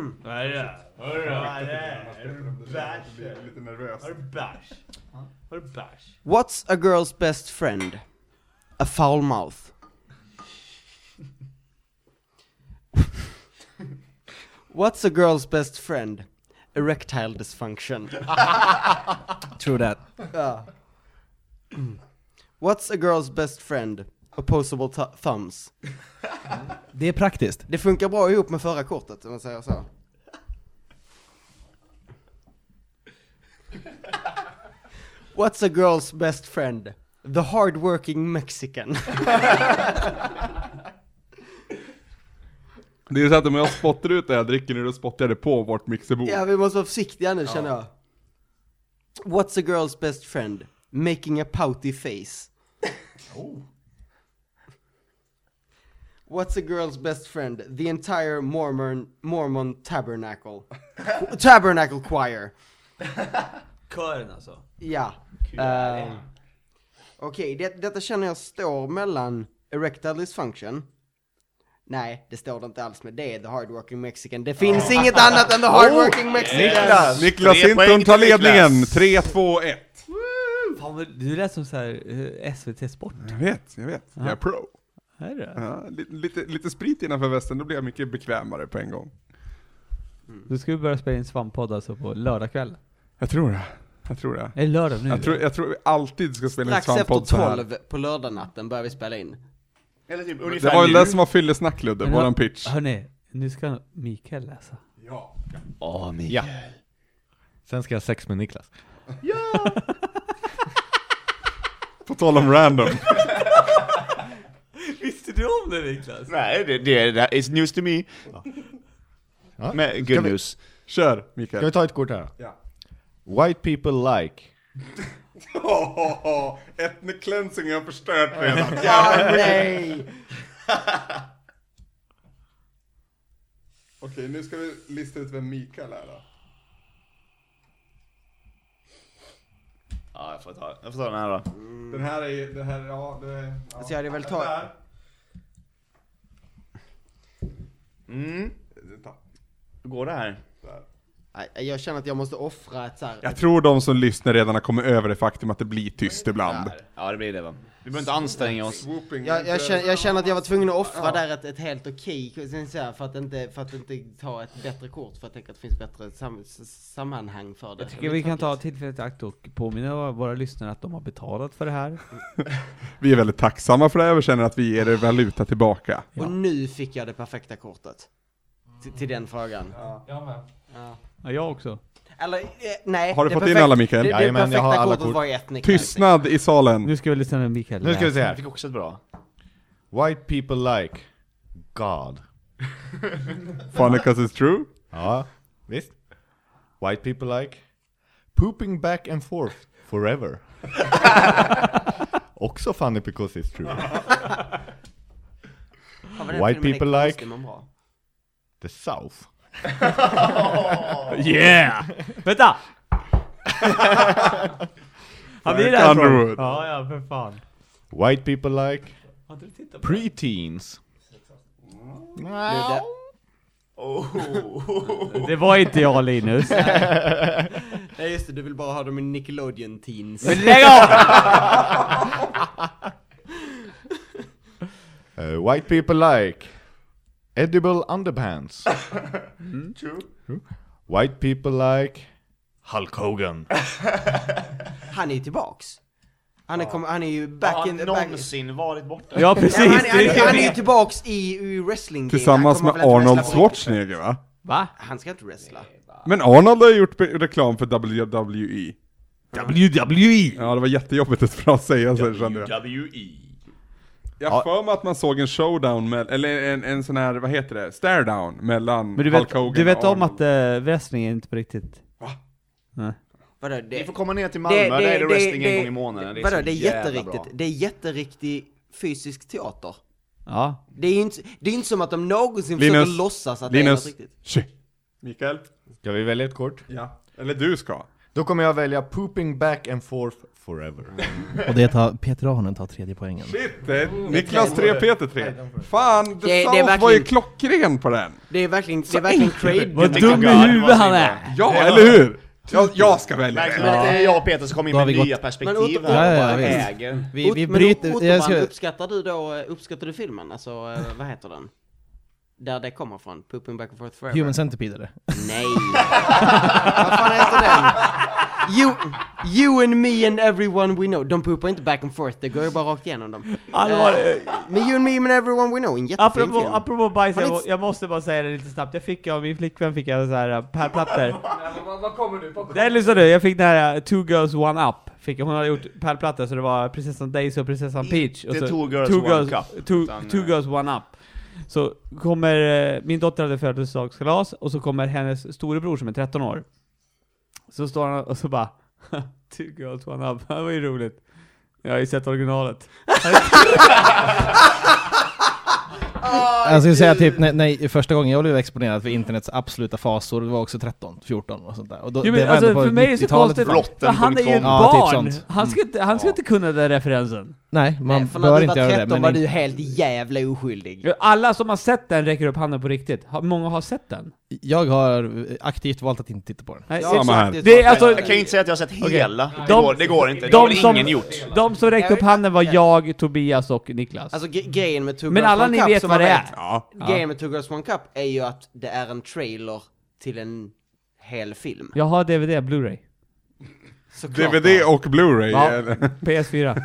S4: blir lite nervös.
S8: Bärs. Har du bärs?
S6: What's a girl's best friend? A foul mouth. What's a girl's best friend? Erectile dysfunction.
S1: True that.
S6: Ja. What's a girl's best friend? Opposable th- thumbs.
S1: Det är praktiskt.
S6: Det funkar bra ihop med förra kortet om man säger så. What's a girl's best friend? The hard working mexican.
S4: Det är ju så att om jag spottar ut det jag dricker nu, då spottar jag det på vårt mixerbord.
S6: ja, vi måste vara försiktiga nu känner jag. What's a girl's best friend? Making a pouty face. What's a girl's best friend? The entire Mormon, Mormon tabernacle. tabernacle choir.
S8: Kören alltså.
S6: Ja. Eh, Okej, det, detta känner jag står mellan erectile dysfunction. Nej, det står det inte alls med. Det är the hardworking mexican. Det finns inget annat än the
S8: Oh,
S6: hardworking mexican.
S5: Niklas!
S4: Niklas
S5: Tre poäng
S4: Hinton
S5: till
S4: tar ledningen!
S5: Niklas.
S4: 3, 2, 1.
S3: Fan, vad- du lät som så här eh, SVT Sport.
S4: Jag vet, jag vet. Jag är pro.
S3: Är det?
S4: Ja, li- lite, lite sprit innanför västen, då blir jag mycket bekvämare på en gång.
S3: Då ska vi börja spela in svamppodd alltså på lördagkväll.
S4: Jag tror det. Jag tror det.
S3: Är det lördag nu?
S4: Jag tror, jag tror vi alltid ska spela in
S6: Strax efter
S4: svamppodd så här.
S6: 12 på lördagnatten börjar vi spela in.
S5: Eller typ
S4: Det
S5: ungefär
S4: var väl
S5: nu.
S4: det som var fyllesnack Ludde,
S3: Men det var-
S4: våran pitch.
S3: Hörni, nu ska Mikael läsa.
S5: Åh, Mikael.
S7: Ja. Sen ska jag ha sex med Niklas.
S4: På tal om random.
S8: Visste du om det Niklas?
S5: Nej, det, det, det it's news to me.
S7: Ja.
S5: Men
S7: Ska
S5: good
S7: vi-
S5: news.
S4: Kör
S7: Ska vi
S4: Mikael.
S7: ta ett kort här?
S4: Ja.
S7: White people like
S4: Åh, Ethnic cleansing har förstört redan.
S6: Ah, nej!
S4: Okej, nu ska vi lista ut vem Mikael är då.
S5: Ja, jag får ta, jag får ta den här då.
S4: Den här är ju- den här, ja, det är... Ja.
S6: Alltså jag hade väl tagit...
S4: Där.
S5: Mm.
S4: Ta-
S5: Hur går det här?
S4: där.
S6: Nej, Jag känner att jag måste offra ett så här...
S4: Jag tror de som lyssnar redan har kommit över det faktum att det blir tyst ibland.
S5: Där. Ja, det blir det va. Vi behöver inte anstränga oss.
S4: Swooping.
S6: Jag, jag, känner, jag känner att jag var tvungen att offra där ett, ett helt okej, sen så här, för, att inte, för att inte ta ett bättre kort, för jag tänker att det finns bättre sam, s- sammanhang för det.
S3: Jag tycker vi kan ta tillfället i akt och påminna våra lyssnare att de har betalat för det här.
S4: Vi är väldigt tacksamma för det här och känner att vi ger er valuta tillbaka.
S6: Och nu fick jag det perfekta kortet. Till, till den frågan. Ja.
S3: Ja, jag också.
S6: Eller, eh, nej.
S4: Har du
S6: det
S4: fått in
S6: perfekt-
S4: alla, Mikael?
S6: Det, det
S7: Jajamän,
S6: perfekta
S7: jag har alla
S6: kortet
S7: kort.
S6: var etnik.
S4: Tystnad i salen.
S3: Nu ska vi lyssna när Mikael
S7: Nu ska vi se
S5: Jag
S7: här.
S5: fick också ett bra.
S7: White people like God.
S4: Fun because it's true.
S7: Ja, visst. White people like pooping back and forth forever. Också funny because it's true.
S6: Fan, vad den
S7: White
S6: filmen är
S7: people
S6: konstig,
S7: like-
S6: men bra.
S7: The South.
S3: Yeah! Vänta! Han blir
S4: Frank
S3: därifrån.
S4: Underwood.
S3: Ja, ja, för fan.
S7: White people like
S8: Har inte du tittat på
S7: preteens.
S3: Det var inte jag Linus.
S6: Nej just det, du vill bara ha dem i Nickelodeon Teens.
S3: Men lägg av!
S7: Uh, white people like edible underpants. True. White people like Hulk Hogan.
S6: Han är ju tillbaks. Han är, kom, han är ju back
S5: Har
S6: in
S5: han
S6: the back.
S5: någonsin varit borta?
S3: Ja,
S6: Nej, han,
S3: precis.
S6: han, han, han är ju tillbaks i, i wrestling
S4: Tillsammans med Arnold Schwarzenegger va?
S3: Va?
S6: Han ska inte wrestla.
S4: Men Arnold har gjort be- reklam för WWE.
S3: WWE!
S4: Ja, det var jättejobbigt att bra säga
S3: E.
S4: så kände jag.
S5: WWE.
S4: Jag har för mig att man såg en showdown, med, eller en, en sån här, vad heter det, stare down mellan
S3: Men du
S4: Hulk
S3: vet,
S4: Hogan
S3: du vet
S4: och
S3: om att
S4: Arnold.
S3: äh, wrestling är inte på riktigt...
S6: Vadå, det,
S5: Vi får komma ner till Malmö, där är det wrestling en gång i månaden. Det är
S6: vadå,
S5: så
S6: det är
S5: jävla
S6: jätteriktigt.
S5: bra.
S6: Det är jätteriktig fysisk teater.
S3: Ja.
S6: Det är ju inte, det är inte som att de någonsin
S4: Linus,
S6: försöker låtsas att det är något
S4: Linus,
S6: riktigt.
S4: tji. Mikael?
S7: Ska vi välja ett kort?
S4: Ja. Eller du ska.
S7: Då kommer jag välja pooping back and forth forever.
S1: Och det tar Peter Arnen tar tredje poängen.
S4: Shit, det är Niklas 3, Peter 3. Fan,
S6: Det-
S4: The
S6: det är
S4: South var ju
S6: verkligen-
S4: klockren på den.
S6: Det är verkligen, det är verkligen
S3: Vad
S6: Craig.
S3: dum i huvudet han är!
S4: Ja, eller hur? Jag, jag ska välja
S5: Märks
S4: det.
S5: det att det är jag och Peter som kommer in
S1: Då har vi
S5: med nya
S1: gått-
S5: perspektiv
S6: Men åter-
S5: här
S1: Ja,
S5: och
S1: ja,
S5: bara
S1: visst.
S5: äger.
S1: Vi, vi
S6: Ot- men Ot-
S1: bryter...
S6: Otterman,
S1: Jag ska,
S6: uppskattar du då, uppskattar du filmen? Alltså, eh, vad heter den? Där det kommer från, Pooping Back and Forth Forever?
S1: human Centipede är det.
S6: Nej! vad fan heter den? You, you and me and everyone we know. De poopar inte back and forth, det går ju bara rakt igenom dem. Eh,
S3: Allvar,
S6: Men you and me and everyone we know, en jättefin
S3: Apropå,
S6: film.
S3: apropå bajs,
S6: Har
S3: jag,
S6: ni
S3: må-
S6: inte-
S3: jag måste bara säga det lite snabbt. Jag fick av min flickvän fick jag så här äh, per plattor. Nej lyssna nu, jag fick den här äh, Two Girls One Up. Fick, jag- hon hade gjort per platta så det var prinsessan Daisy och prinsessan Peach. Och så,
S5: Inte Two Girls One Cup,
S3: Two,
S5: utan,
S3: two
S5: eh,
S3: Girls One Up. Så kommer, eh, min dotter hade födelsedagskalas och så kommer hennes storebror som är 13 år. Så står han och så bara Two Girls One Up, det var ju roligt. Jag har ju sett originalet.
S1: Jag skulle säga typ, nej, nej, första gången jag blev exponerad för internets absoluta fasor, det var också 13, 14 och sånt där. Och då,
S3: Jo,
S1: det
S3: men
S1: var
S3: alltså,
S1: ändå på
S3: för mig är det så
S1: 90-talet.
S3: konstigt,
S5: Rotten
S3: för han är ju ett
S5: 0.2.
S1: Ja, typ
S3: barn!
S1: sånt. Mm.
S3: han ska, inte, han ska inte kunna den referensen.
S1: Nej, man
S6: Nej, för när
S1: bör
S6: du
S1: inte
S6: var
S1: göra det.
S6: 13 var
S1: Men
S6: du helt jävla oskyldig.
S3: Alla som har sett den räcker upp handen på riktigt. Ha- Många har sett den.
S1: jag har eh, aktivt valt att inte titta på den.
S3: Nej,
S4: Samma
S3: exakt.
S4: här.
S3: Det är alltså-
S5: Jag kan ju inte säga att jag har sett
S3: Okej.
S5: hela. Det,
S3: De-
S5: går, det går inte. Det har
S3: De
S5: väl
S3: som,
S5: ingen gjort.
S3: de som räckte upp handen var jag, Tobias och Niklas.
S6: Alltså gre- grejen med Two
S3: men
S6: Girls
S3: alla
S6: One
S3: ni
S6: Cup
S3: vet
S6: som
S3: vad
S6: man
S3: det är.
S4: Ja.
S6: Grejen med Two Girls One Cup är ju att det är en trailer till en hel film.
S3: Jag har DVD, Blu-ray.
S6: Såklart.
S4: DVD och Blu-ray.
S3: Ja.
S4: eller-
S3: PS4.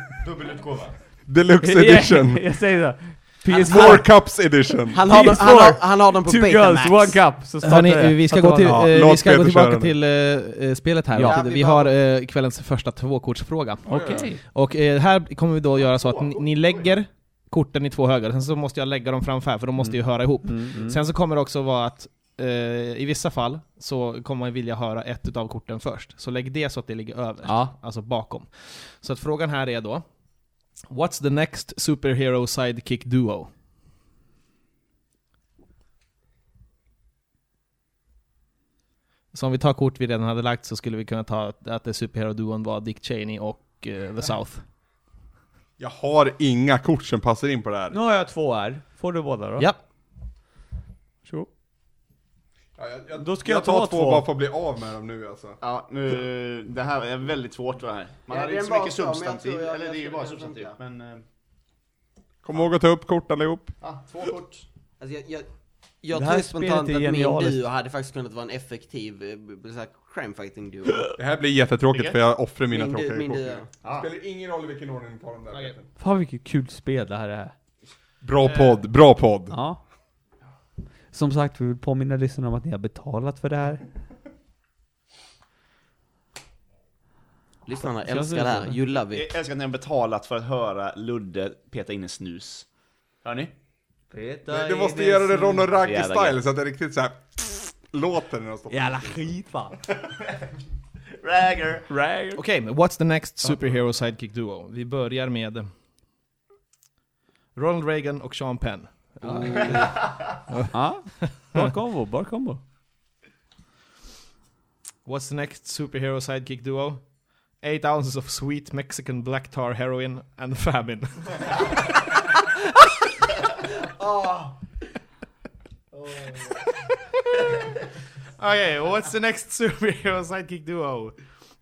S4: Deluxe edition.
S3: jag säger
S1: Alltså,
S3: det. PS4.
S4: More Cups edition.
S6: Han har, dem, han, har, han har dem på
S3: Two girls,
S6: Betamax.
S3: one cup. Så startar det.
S1: Hörni, vi ska,
S3: Fattar
S1: gå, till,
S3: vad-
S4: Ja,
S1: eh, vi
S4: låt
S1: ska gå
S4: Peter
S1: tillbaka
S4: köra nu.
S1: till eh, eh, spelet här.
S3: Ja.
S1: Vi har eh, kvällens första tvåkortsfråga.
S3: Okej.
S1: Och eh, här kommer vi då göra så att ni, ni lägger korten i två högar, sen så måste jag lägga dem framför, för de måste ju höra ihop. Sen så kommer det också vara att eh, i vissa fall så kommer man vilja höra ett utav korten först. Så lägg det så att det ligger överst,
S3: Ja.
S1: alltså bakom. Så att frågan här är då, What's the next superhero sidekick duo? Så om vi tar kort vi redan hade lagt så skulle vi kunna ta att- att det superhero-duon var Dick Cheney och eh, The South.
S4: Jag har inga kort som passar in på det här.
S3: Nu har jag två här. Får du båda då?
S1: Ja,
S3: Varsågod.
S4: Ja, jag,
S3: Då ska jag
S4: tar
S3: ta
S4: två,
S3: två.
S4: bara för att bli av med dem nu alltså.
S5: Ja, nu, det här är väldigt svårt va här. Man
S6: Ja,
S5: hade
S6: det är
S5: inte så
S6: bara
S5: mycket
S6: så, men jag
S5: substantiv,
S6: tror jag-
S5: eller
S6: jag
S5: det är ju
S6: tror
S5: bara
S6: det
S5: substantiv.
S6: funkar.
S5: Men, eh,
S4: Kom ihåg att ta upp kort allihop.
S5: ja, två kort.
S6: Alltså jag, jag, jag
S3: Det här
S6: tror spontant
S3: spelet är
S6: att min
S3: genialiskt.
S6: duo hade faktiskt kunnat vara en effektiv eh, b- b- så här, crime fighting duo.
S4: Det här blir jättetråkigt för jag offrar mina
S6: min,
S4: tråkiga
S6: du, min
S4: kort.
S6: duo.
S4: nu. Spelar ingen roll i vilken ordning ni tar dem där. Peter.
S3: Fan vilket kul spel det här är.
S4: Bra podd, bra podd.
S3: Ja. Som sagt, vi vill påminna lyssnarna om att ni har betalat för det här.
S6: Lyssnarna
S3: Känns
S6: älskar
S3: det
S6: det
S3: så,
S6: här,
S3: eller?
S6: you love it.
S5: Jag älskar att ni har betalat för att höra Ludde peta in en snus. Hör ni?
S4: Du, du måste göra det Ron och
S5: Jävla
S4: Ragge-style
S5: gött.
S4: så att det riktigt såhär låter när de står.
S3: Jävla skit va.
S5: Ragger!
S3: Ragger.
S1: okej, men what's the next superhero sidekick duo? Vi börjar med Ronald Reagan och Sean Penn.
S3: Ja. Bra kombo, bra kombo.
S1: What's the next superhero sidekick duo? Eight ounces of sweet Mexican black tar heroin and famine. Oh. okay, what's the next superhero sidekick duo?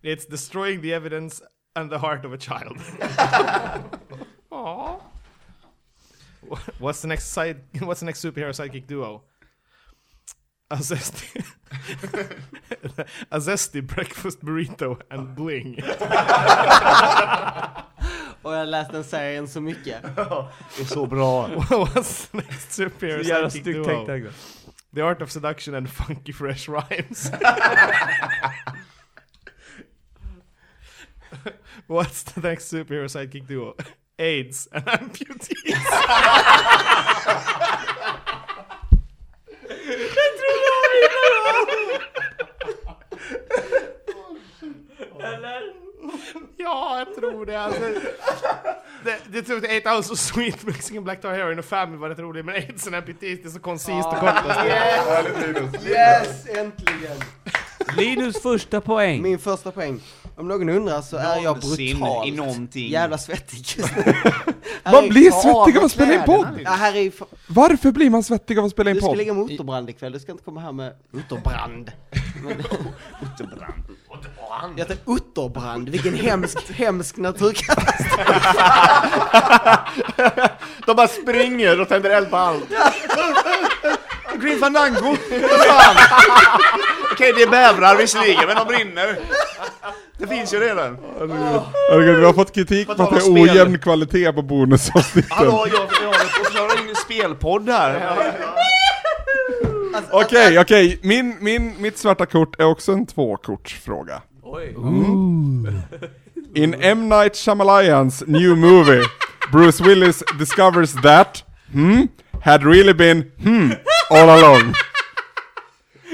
S1: It's destroying the evidence and the heart of a child. Aw. Wh- What's the next side? What's the next superhero sidekick duo? A zesty, a zesty breakfast burrito and bling.
S6: Och jag läste den serien så mycket.
S5: Det är så bra.
S1: What's the next superhero
S3: Jävla
S1: sidekick
S3: snyggt
S1: duo?
S3: tänkt Agda.
S1: The Art of Seduction and Funky Fresh Rhymes. What's the next superhero sidekick duo? AIDS and amputees. Ja, jag tror det. Alltså, det, det tror jag inte alls så alltså sweet Mexican Black Tar Heroin och Family var rätt roligt, men AIDS and amputees, det är så koncist och kortast.
S4: Ja, det blir det.
S6: Yes, äntligen!
S3: Linus första poäng.
S6: Min första poäng. Om någon undrar så är jag
S5: Vansinne
S6: brutalt
S5: i någonting.
S6: jävla svettig just nu.
S4: Man
S6: Här är-
S4: blir
S6: ta av
S4: svettig av
S6: dig
S4: att spela in
S6: kläderna.
S4: podd.
S6: Ja, här är ju fa-
S4: Varför blir man svettig av att spela in
S6: Du ska
S4: podd?
S6: lägga motorbrand ikväll, du ska inte komma här med utterbrand.
S5: Otterbrand.
S6: Jag heter utterbrand, vilken hemsk, hemsk naturkatastrof.
S5: De bara springer och tänder eld på allt. Green Fandango! Okej, det är bävrar visserligen, men de brinner. Det finns ju redan.
S4: Herregud, vi har fått kritik
S5: På
S4: för att det
S5: tal om
S4: är
S5: spel.
S4: ojämn kvalitet på bonusavsnitten.
S5: Hallå, jag och förklarar in en spelpodd här.
S4: Okej, okej. Min, min, mitt svarta kort är också en tvåkortsfråga.
S8: Oj.
S4: In M. Night Shyamalan's new movie, Bruce Willis discovers that, hmm, had really been, hmm, all along.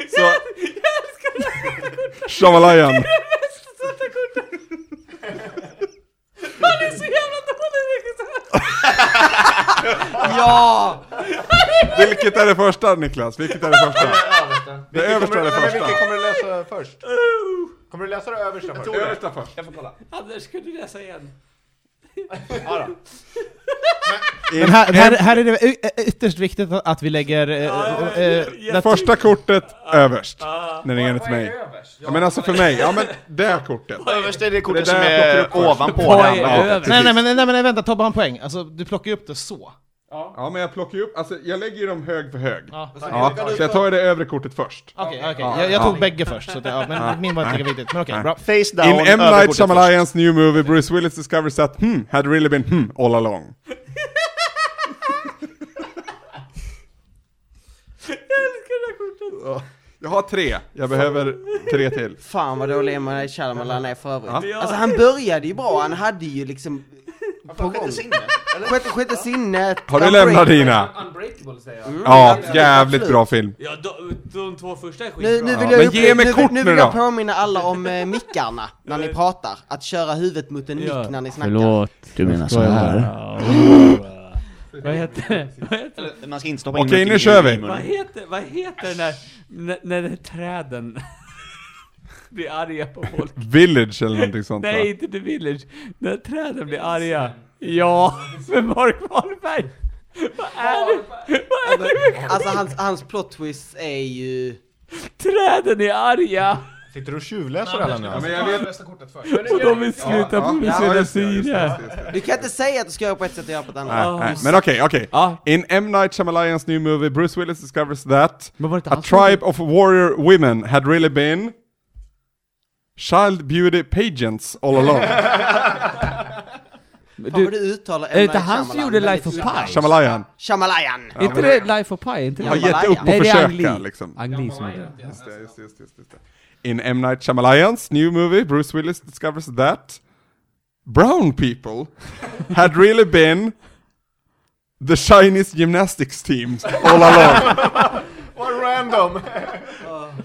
S4: Så... Shyamalan.
S6: Ja!
S4: Vilket är det första Niklas? Vilket är det första? Det översta är det första.
S7: Vilken kommer du läsa först? Kommer du läsa det översta först?
S4: Det översta först.
S8: Anders, ska du läsa igen?
S1: Men här, här, här är det y- y- ytterst viktigt att vi lägger... eh, eh, det-
S4: Första kortet överst. När det är enligt mig. Ja, men alltså för mig, ja men det kortet.
S5: Överst är det kortet
S4: Det
S5: som
S4: där
S5: är
S4: plockar du upp först.
S5: ovanpå
S3: Vad
S5: det
S3: är
S5: andra.
S3: över?
S1: nej, nej, men, nej men vänta, ta bara en poäng. Alltså, du plockar ju upp det så.
S4: Ja men jag plockar ju upp, alltså jag lägger ju dem hög för hög.
S1: Ja.
S4: Ja, så jag tar ju det övre kortet först.
S1: Okej, okej. Jag, jag tog bägge först, så att, ja, men min var inte lika viktigt. Men okej, bra.
S5: Face down,
S4: In M.
S5: över
S4: Night
S5: kortet först.
S4: Shyamalan's new movie, Bruce Willis discovers that hmm, had really been hmm all along. Ja. Jag har tre, jag behöver tre till.
S6: Fan vad dålig Emma Night Shyamalan är för övrigt. Alltså han började ju bra, han hade ju liksom... På gång. Sjätte, sjätte sinnet.
S4: Har du
S6: Unbreakable.
S4: lämnat dina?
S8: Invincible säger jag.
S6: Mm,
S4: Ja,
S6: absolut,
S4: jävligt
S6: absolut.
S4: bra film.
S8: Ja, de, de två första är skitbra.
S6: Nu, nu vill
S4: Ja,
S6: jag,
S4: men
S6: upp-
S4: ge mig
S6: nu,
S4: kort
S6: nu
S4: nu
S6: vill jag
S4: då.
S6: påminna alla om eh, mickarna när ni pratar. Att köra huvudet mot en mick
S8: Ja.
S6: när ni snackar.
S9: Förlåt.
S5: Du menar så här?
S8: Vad heter det? Vad heter,
S5: Eller, Man ska inte stoppa in
S4: Okej,
S5: mycket
S4: nu
S5: i-
S4: kör
S5: i
S4: vi.
S5: munnen.
S8: vad heter, vad heter den där, när, när det är träden blir arga på folk?
S4: Village eller någonting sånt va?
S8: Nej, inte The Village. När träden blir arga. Ja, med Mark Wahlberg. Vad är det? Vad är det med
S6: Alltså hans, hans plot twist är ju...
S8: träden är arga?
S7: Sitter du och tjuvläser alla nu?
S4: Ja,
S7: alltså?
S4: men jag vet...
S8: Och de vill sluta på med
S4: ja,
S8: sina
S4: just det,
S8: syre.
S4: just det, just det, just det.
S6: Du kan inte säga att du ska göra på ett sätt och göra på ett annat.
S4: Nej, nej. Ah, Men okej, okej.
S8: Ja.
S4: In M. Night Shyamalan's new movie Bruce Willis discovers that
S8: Men var det inte
S4: a
S8: han som-
S4: tribe of warrior women had really been child beauty pageants all along.
S6: Fan vad du uttalar
S8: Är det
S6: M.
S8: inte
S6: Night
S8: han som
S6: Shyamalan
S8: gjorde
S6: väldigt
S8: Life of
S6: illa.
S8: Pi?
S4: Shamalayan.
S6: Shamalayan!
S8: Är inte det Life of Pi? Är inte det-
S4: Har gett upp och
S8: Nej, det är Ang Lee.
S4: försöka
S3: Ah,
S4: liksom.
S8: Ang Lee som heter det.
S4: Just det, just det, just det, just det. In M. Night Shyamalan's new movie Bruce Willis discovers that brown people had really been the Chinese gymnastics teams all along.
S7: Vad random!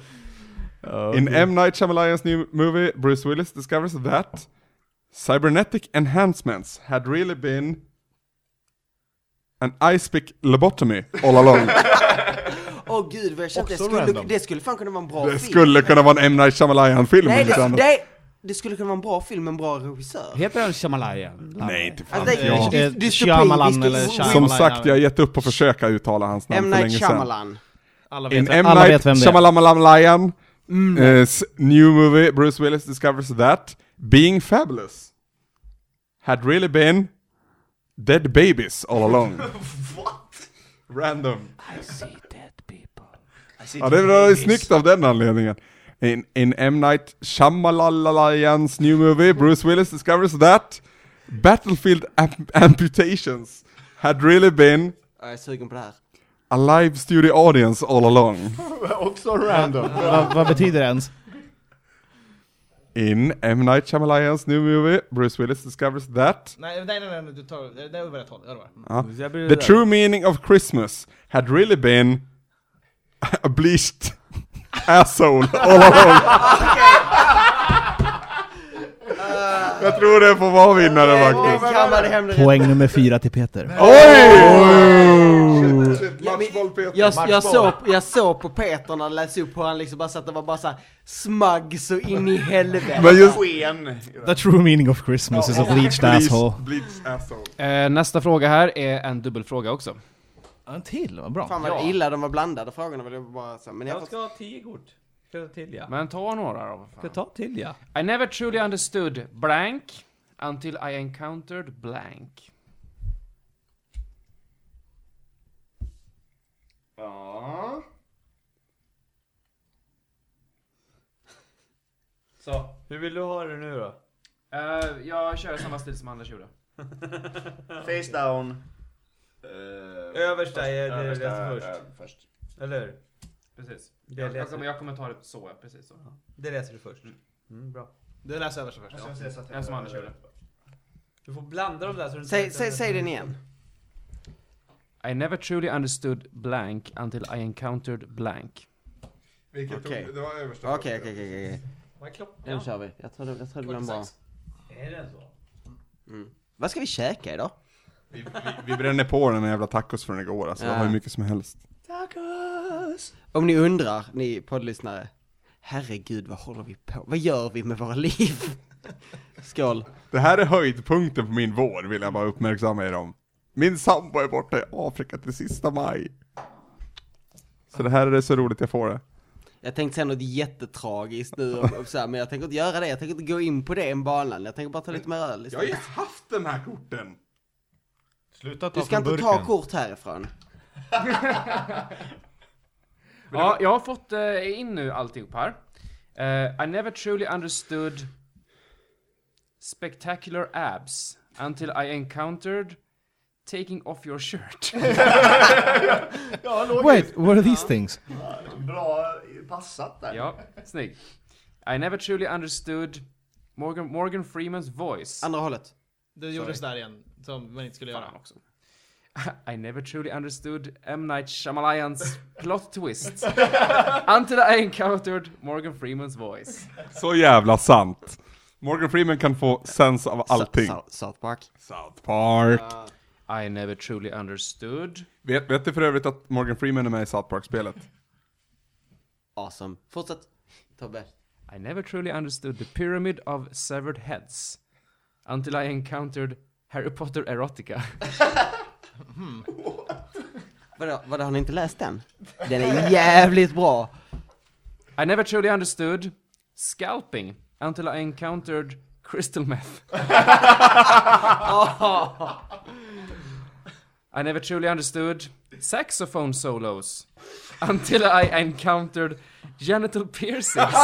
S4: In M. Night Shyamalan's new movie, Bruce Willis discovers that cybernetic enhancements had really been an ice pick lobotomy all along.
S6: Åh gud vad jag kände, det
S7: Också
S6: skulle,
S7: random.
S6: det skulle fan kunna vara en bra
S4: det
S6: film.
S4: skulle kunna vara en M. Night Shyamalan-film
S6: Nej,
S4: om inte
S6: det,
S4: annat.
S6: det, det skulle kunna vara en bra film med en bra regissör.
S8: Heter han Shamalayan?
S4: Nej, inte fan.
S6: Alltså, det,
S1: Ja.
S6: det,
S1: Eh,
S6: det, det
S1: Shyamalan eller
S4: Som
S1: Shyamalan,
S4: sagt, jag har gett upp att försöka uttala hans namn
S6: M.
S4: för
S6: Night
S4: länge sedan.
S6: Shyamalan.
S1: Alla
S4: In
S1: vet,
S4: M.
S1: alla vet vem
S4: Night
S1: det är.
S4: Shyamalan uh, new movie, Bruce Willis discovers that being fabulous had really been dead babies all along. What? Random. Ja, det var snyggt av den anledningen. In, in M. Night Shyamalan's new movie, Bruce Willis discovers that battlefield am- amputations had really been
S6: Ja, Jag är sugen på det här.
S4: a live studio audience all along.
S7: Också random.
S1: Vad, vad betyder det ens?
S4: In M. Night Shyamalan's new movie, Bruce Willis discovers that
S1: Nej, nej, nej, nej, du tar, det det var rätt håll. Ja, det var.
S4: the true meaning of Christmas had really been a bleached asshole all along. Jag tror det får vara vinnare
S6: Det
S4: faktiskt.
S6: kan vara det hemliga
S1: Poäng nummer fyra till Peter.
S4: Oj! Shit, shit,
S6: Ja, men
S4: matchboll, Peter.
S6: Jag, jag, såg, jag såg på Peter när det läste upp hur han liksom bara satt och var bara såhär smagg så in i helvete.
S4: Men just...
S5: Sken.
S1: The true meaning of Christmas is a bleached asshole.
S4: Bleached asshole.
S9: Eh, nästa fråga här är en dubbelfråga också.
S1: En till, vad bra.
S6: Fan vad illa de var blandade frågorna. men det var Bara så, här, men jag
S8: Jag
S6: fått,
S8: ska ha tio kort. Ska jag ta till ja?
S9: Men ta några då. vad
S8: Ska
S9: fan.
S8: jag ta till ja?
S9: I never truly understood blank until I encountered blank.
S8: Så, hur vill du ha det nu då?
S9: Eh, jag kör samma stil som Anders gjorde.
S5: Face down.
S8: Översta är det
S5: Översta,
S8: rätt först.
S5: eh, först.
S8: Eller hur?
S9: Precis.
S8: Det
S9: jag,
S8: läser-
S9: kommer, jag kommer ta det så, ja, precis så.
S8: Det läser du först. Mm, bra.
S1: Du läser översta först.
S9: Den som Anders gjorde.
S8: Du får blanda dem där så du inte-
S6: säg, säg, säg den igen.
S9: I never truly understood blank until I encountered blank.
S4: Vilket
S6: Okej.
S4: det var översta.
S6: Okej, okej, okej, okej. okej.
S8: Vad är klockan?
S6: Nu kör vi. Jag tror det, jag tror det blir en bra.
S8: Är den så?
S6: Vad ska vi käka idag?
S4: Vi, vi, vi bränner på den här jävla tacos från igår alltså, det
S6: Ja.
S4: var hur mycket som helst.
S6: Om ni undrar, ni poddlyssnare. Herregud, vad håller vi på? Vad gör vi med våra liv? Skål.
S4: Det här är höjdpunkten på min vår, vill jag bara uppmärksamma er om. Min sambo är borta i Afrika till sista maj. Så det här är det så roligt jag får det.
S6: Jag tänkte säga något jättetragiskt nu, om, om, så här, men jag tänker inte göra det. Jag tänker inte gå in på det en banan. Jag tänker bara ta lite mer öl istället.
S4: haft den här korten!
S7: Sluta ta
S6: Du ska
S7: från
S6: inte
S7: burken.
S6: ta kort härifrån.
S9: Ja, jag har fått eh, in nu alltihop här. Eh, I never truly understood spectacular abs until I encountered taking off your shirt.
S1: Wait, what are these things?
S5: Bra passat där.
S9: ja, snygg. I never truly understood Morgan, Morgan Freemans voice.
S6: Andra hållet.
S1: Du gjorde sådär igen, som man inte skulle
S9: Fan också. I never truly understood M. Night Shyamalan's plot twist until I encountered Morgan Freeman's voice.
S4: Så jävla sant. Morgan Freeman kan få sens av allting.
S6: South Park.
S4: South Park.
S9: I never truly understood.
S4: Vet, vet du för övrigt att Morgan Freeman är med i South Park-spelet?
S6: Awesome. Fortsätt, Tobbe.
S9: I never truly understood the pyramid of severed heads until I encountered Harry Potter erotica.
S6: Vadå, vadå, har ni inte läst den? Den är jävligt bra!
S9: I never truly understood scalping until I encountered crystal meth. I never truly understood saxophone solos until I encountered genital piercings.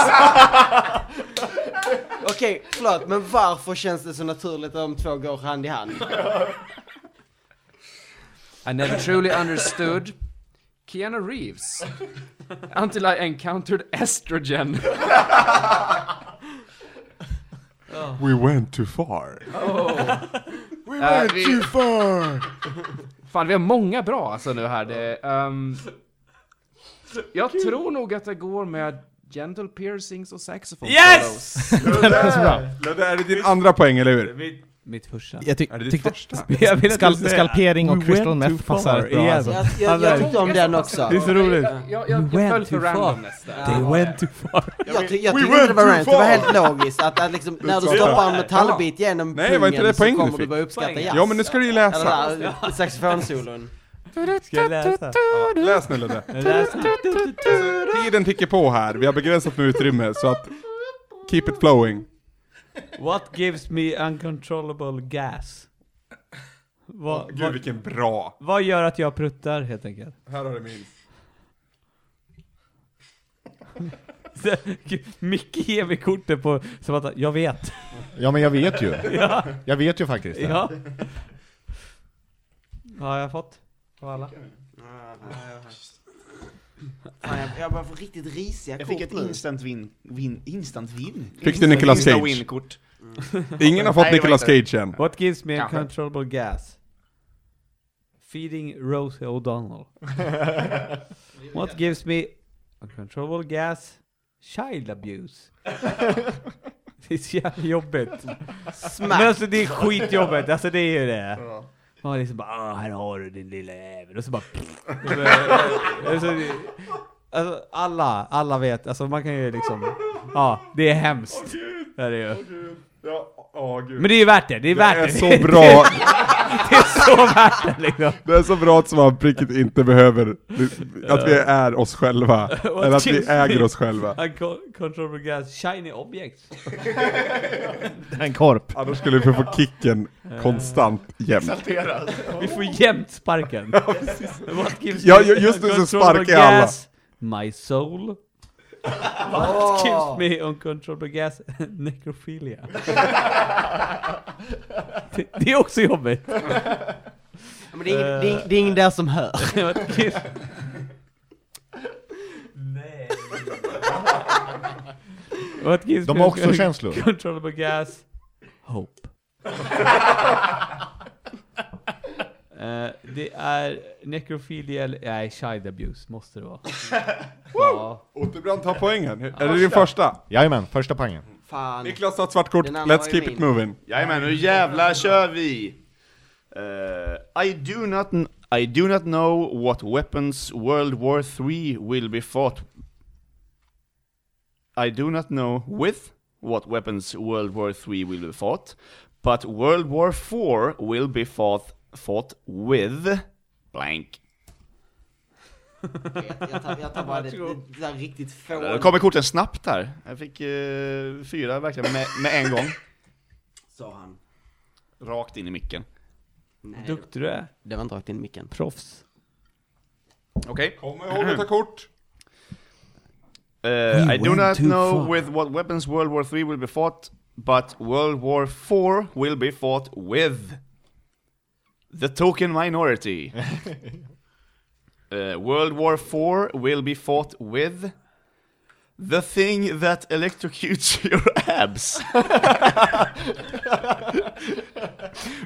S6: Okej, förlåt, men varför känns det så naturligt att de två går hand i hand?
S9: I never truly understood Keanu Reeves until I encountered estrogen.
S4: We went too far.
S7: Äh,
S9: Uh, Oh. vi... Too far. Fan, vi har många bra alltså nu här. Det, ehm, jag tror nog att det går med gentle piercings och saxofon.
S3: Yes!
S4: Det där är din andra poäng, eller hur?
S3: Mitt, mitt första.
S1: Jag ty-
S4: Är det ditt
S1: tyckte
S4: första?
S3: Jag vill att
S1: skal-
S3: du säger-
S1: skalpering och
S3: We
S1: crystal
S3: went
S1: meth
S3: too far
S1: passar bra
S3: igen.
S1: alltså.
S6: Jag, jag, jag tyckte om den också.
S3: Det är så roligt.
S9: Jag, jag, jag,
S3: went
S9: jag föll för
S3: too far.
S9: randomness där.
S3: They went too far.
S6: Jag, ty- jag
S4: We
S6: tyckte
S4: went
S6: inte det var
S4: too
S6: rent, det var
S4: far.
S6: helt logiskt att, att liksom, när du
S4: Det var-
S6: stoppar en metallbit genom
S4: Nej, var inte
S6: pungen
S4: det
S6: så
S4: poäng du
S6: kommer du
S4: fick?
S6: börja uppskatta jazz.
S4: Ja, men nu ska du ju läsa.
S6: Eller där, saxofonsolon.
S3: Ska jag läsa?
S4: Läs nu Ludde.
S3: Jag läser.
S4: Tiden tickar på här, vi har begränsat med utrymme, så att keep it flowing.
S3: What gives me uncontrollable gas? Vad,
S4: Gud
S3: vad,
S4: vilken bra.
S3: vad gör att jag pruttar helt enkelt?
S4: Här har du min.
S3: Micke ger mig kortet på, som att jag vet.
S7: Ja men jag vet ju. Jag vet ju faktiskt det.
S3: Ja. Vad har jag fått? Av alla?
S6: Fan, jag, jag börjar få riktigt risiga
S5: Jag fick
S6: kort
S5: ett
S6: nu.
S5: instant win. win instant win?
S4: Fick du Nicolas
S5: Instant
S4: Cage?
S5: win-kort.
S4: Ingen har fått
S5: Nej, det var
S4: Nicolas
S5: inte-
S4: Cage än.
S3: What gives me
S5: Kanske.
S3: uncontrollable gas? Feeding Rosie O'Donnell. What gives me uncontrollable gas? Child abuse. det är så jävla jobbigt.
S6: Smack!
S3: Men alltså det är skitjobbigt, alltså det är ju det. Man är liksom bara ah, här har du din lilla jävel och så bara... alltså, det- alltså, alla, alla vet, alltså man kan ju liksom... Ja, det är hemskt. det är det ju.
S4: Ja, åh gud.
S3: Men det är ju värt det, det är
S4: Det
S3: värt det.
S4: är så bra,
S3: Det är så värt det liksom.
S4: det är så bra att småpricket inte behöver, att vi är oss själva. Eller att vi äger oss själva.
S3: Uncontrollable gas, shiny objects.
S1: En korp.
S4: Annars skulle vi få kicken konstant jämt.
S3: Vi får jämt sparken. What gives
S4: Ja,
S3: me
S4: ju- just nu så
S3: uncontrollable
S4: sparkar alla.
S3: gas? My soul. What gives me uncontrollable gas? Necrophilia. det, det är också jobbigt.
S6: Men det är ingen, det är, det är ingen där som hör.
S3: What gives... Nej. What gives
S7: De
S3: me
S7: har också
S3: uncon-
S7: känslor.
S3: Uncontrollable gas. Hope. Eh, det är necrophilia eller... Nej, child abuse måste det vara. ja.
S4: Återbrand tar poängen. Är det din första?
S7: Jajamän, första poängen.
S6: Fan.
S4: Niklas har ett svart kort,
S6: Den andra
S4: let's
S6: var ju
S4: keep it
S6: min.
S4: moving.
S5: Jajamän, nu jävlar kör vi! Eh, I, do not, I do not know what weapons World War 3 will be fought... I do not know with what weapons World War 3 will be fought, but World War 4 will be fought, fought with... blank.
S6: Jag, jag, tar, jag tar bara det, det, det där riktigt
S5: Då
S6: få.
S5: kommer korten snabbt här. Jag fick eh, fyra verkligen med, med en gång.
S6: Sa han.
S5: Rakt in i micken.
S6: Nej, det-
S3: Duktig du är.
S6: det var inte rakt in i micken.
S3: Proffs.
S5: Okej.
S4: Kom ihåg att ta kort.
S5: Uh, I do not know with what weapons World War 3 will be fought, but World War 4 will be fought with the token minority. uh, World War 4 will be fought with The thing that electrocutes your abs.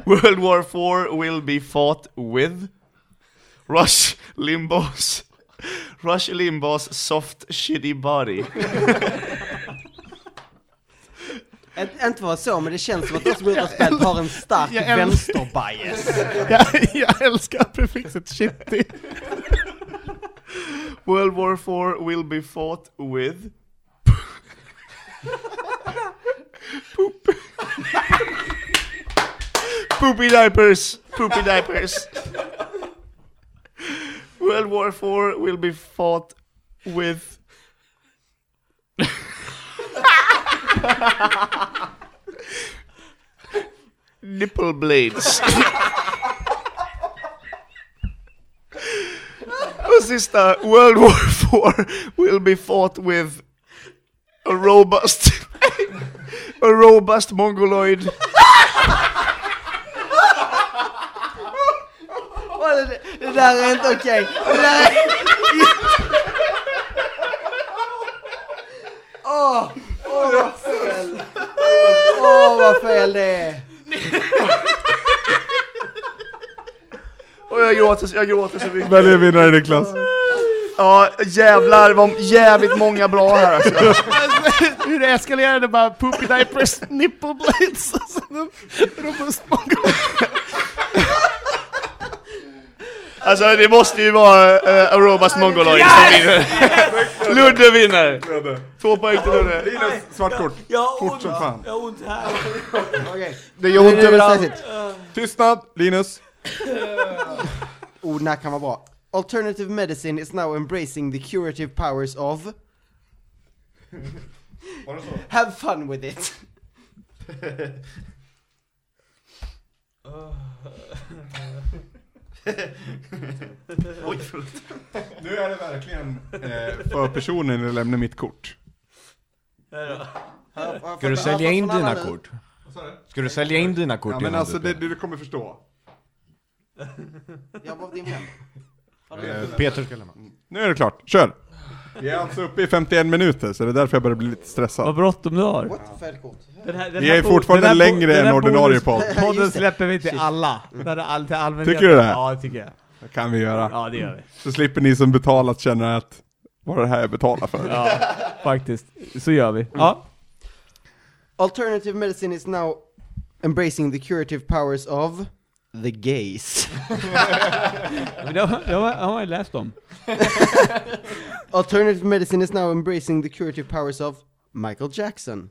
S5: World War 4 will be fought with Rush Limbaugh's Rush Limbaugh's soft shitty body.
S6: Ä- Inte vara så, men det känns som att de som gjort det här spelet har en stark
S1: Jag älskar-
S6: vänsterbias.
S1: jag, jag älskar prefixet shitty.
S5: World War 4 will be fought with poop poopy diapers poopy diapers World War 4 will be fought with nipple blades Och sista, World War 4 will be fought with a robust, a robust mongoloid.
S6: Åh, Det, det där är inte okej. Det där är... Åh, åh, vad fel. Åh, vad fel det är.
S5: Och jag gråter, jag gråter så mycket.
S7: Välj en vinnare Niklas.
S5: Ja, jävlar vad jävligt många bra här alltså.
S1: Hur det eskalerade bara poopy diapers, nipple blades, och sen en robust mongol.
S5: Alltså det måste ju vara uh, a robust mongoloid som vinner. Ludde vinner!
S4: Ludde.
S5: Två poäng till Ludde.
S4: Linus, svart kort. Fort som fan.
S8: Jag har ont här.
S6: Okej.
S5: Det gör ont
S6: Nu är det
S5: överallt.
S6: säkert.
S4: Tystnad, Linus.
S6: Oh, den här kan vara bra. Alternative medicine is now embracing the curative powers of... Have fun with it.
S8: Oh.
S4: Nu är det verkligen eh, för personen jag lämnar mitt kort.
S7: Ska du sälja in dina kort? Ska du sälja in dina kort
S4: Ja men
S7: innan
S4: alltså
S7: du-
S4: det, du kommer förstå.
S6: Jag var din vän.
S7: Eh, Peter ska lämna.
S4: Nu är det klart, kör! Vi är alltså uppe i 51 minuter, så det är därför jag börjar bli lite
S8: Vad
S4: stressad.
S8: bråttom du har.
S6: What? Fel kort.
S8: Den här, den
S4: Vi
S8: här
S4: är
S8: bo-
S4: fortfarande
S8: den här bo-
S4: längre
S8: den här
S4: än ordinarie
S8: bonus-
S4: podd.
S8: Podden
S6: Just det.
S8: släpper vi till alla. Den är all, till allmänheten.
S4: Tycker du det?
S8: Ja, det tycker jag.
S4: Det kan vi göra.
S8: Ja, det gör vi.
S4: Så slipper ni som betalat känna att vad är det här jag betalar för?
S8: Ja, faktiskt. Så gör vi. Ja.
S6: Alternative medicine is now embracing the curative powers of the gays.
S8: Men det har, det har, har man ju läst om.
S6: Alternative medicine is now embracing the curative powers of Michael Jackson.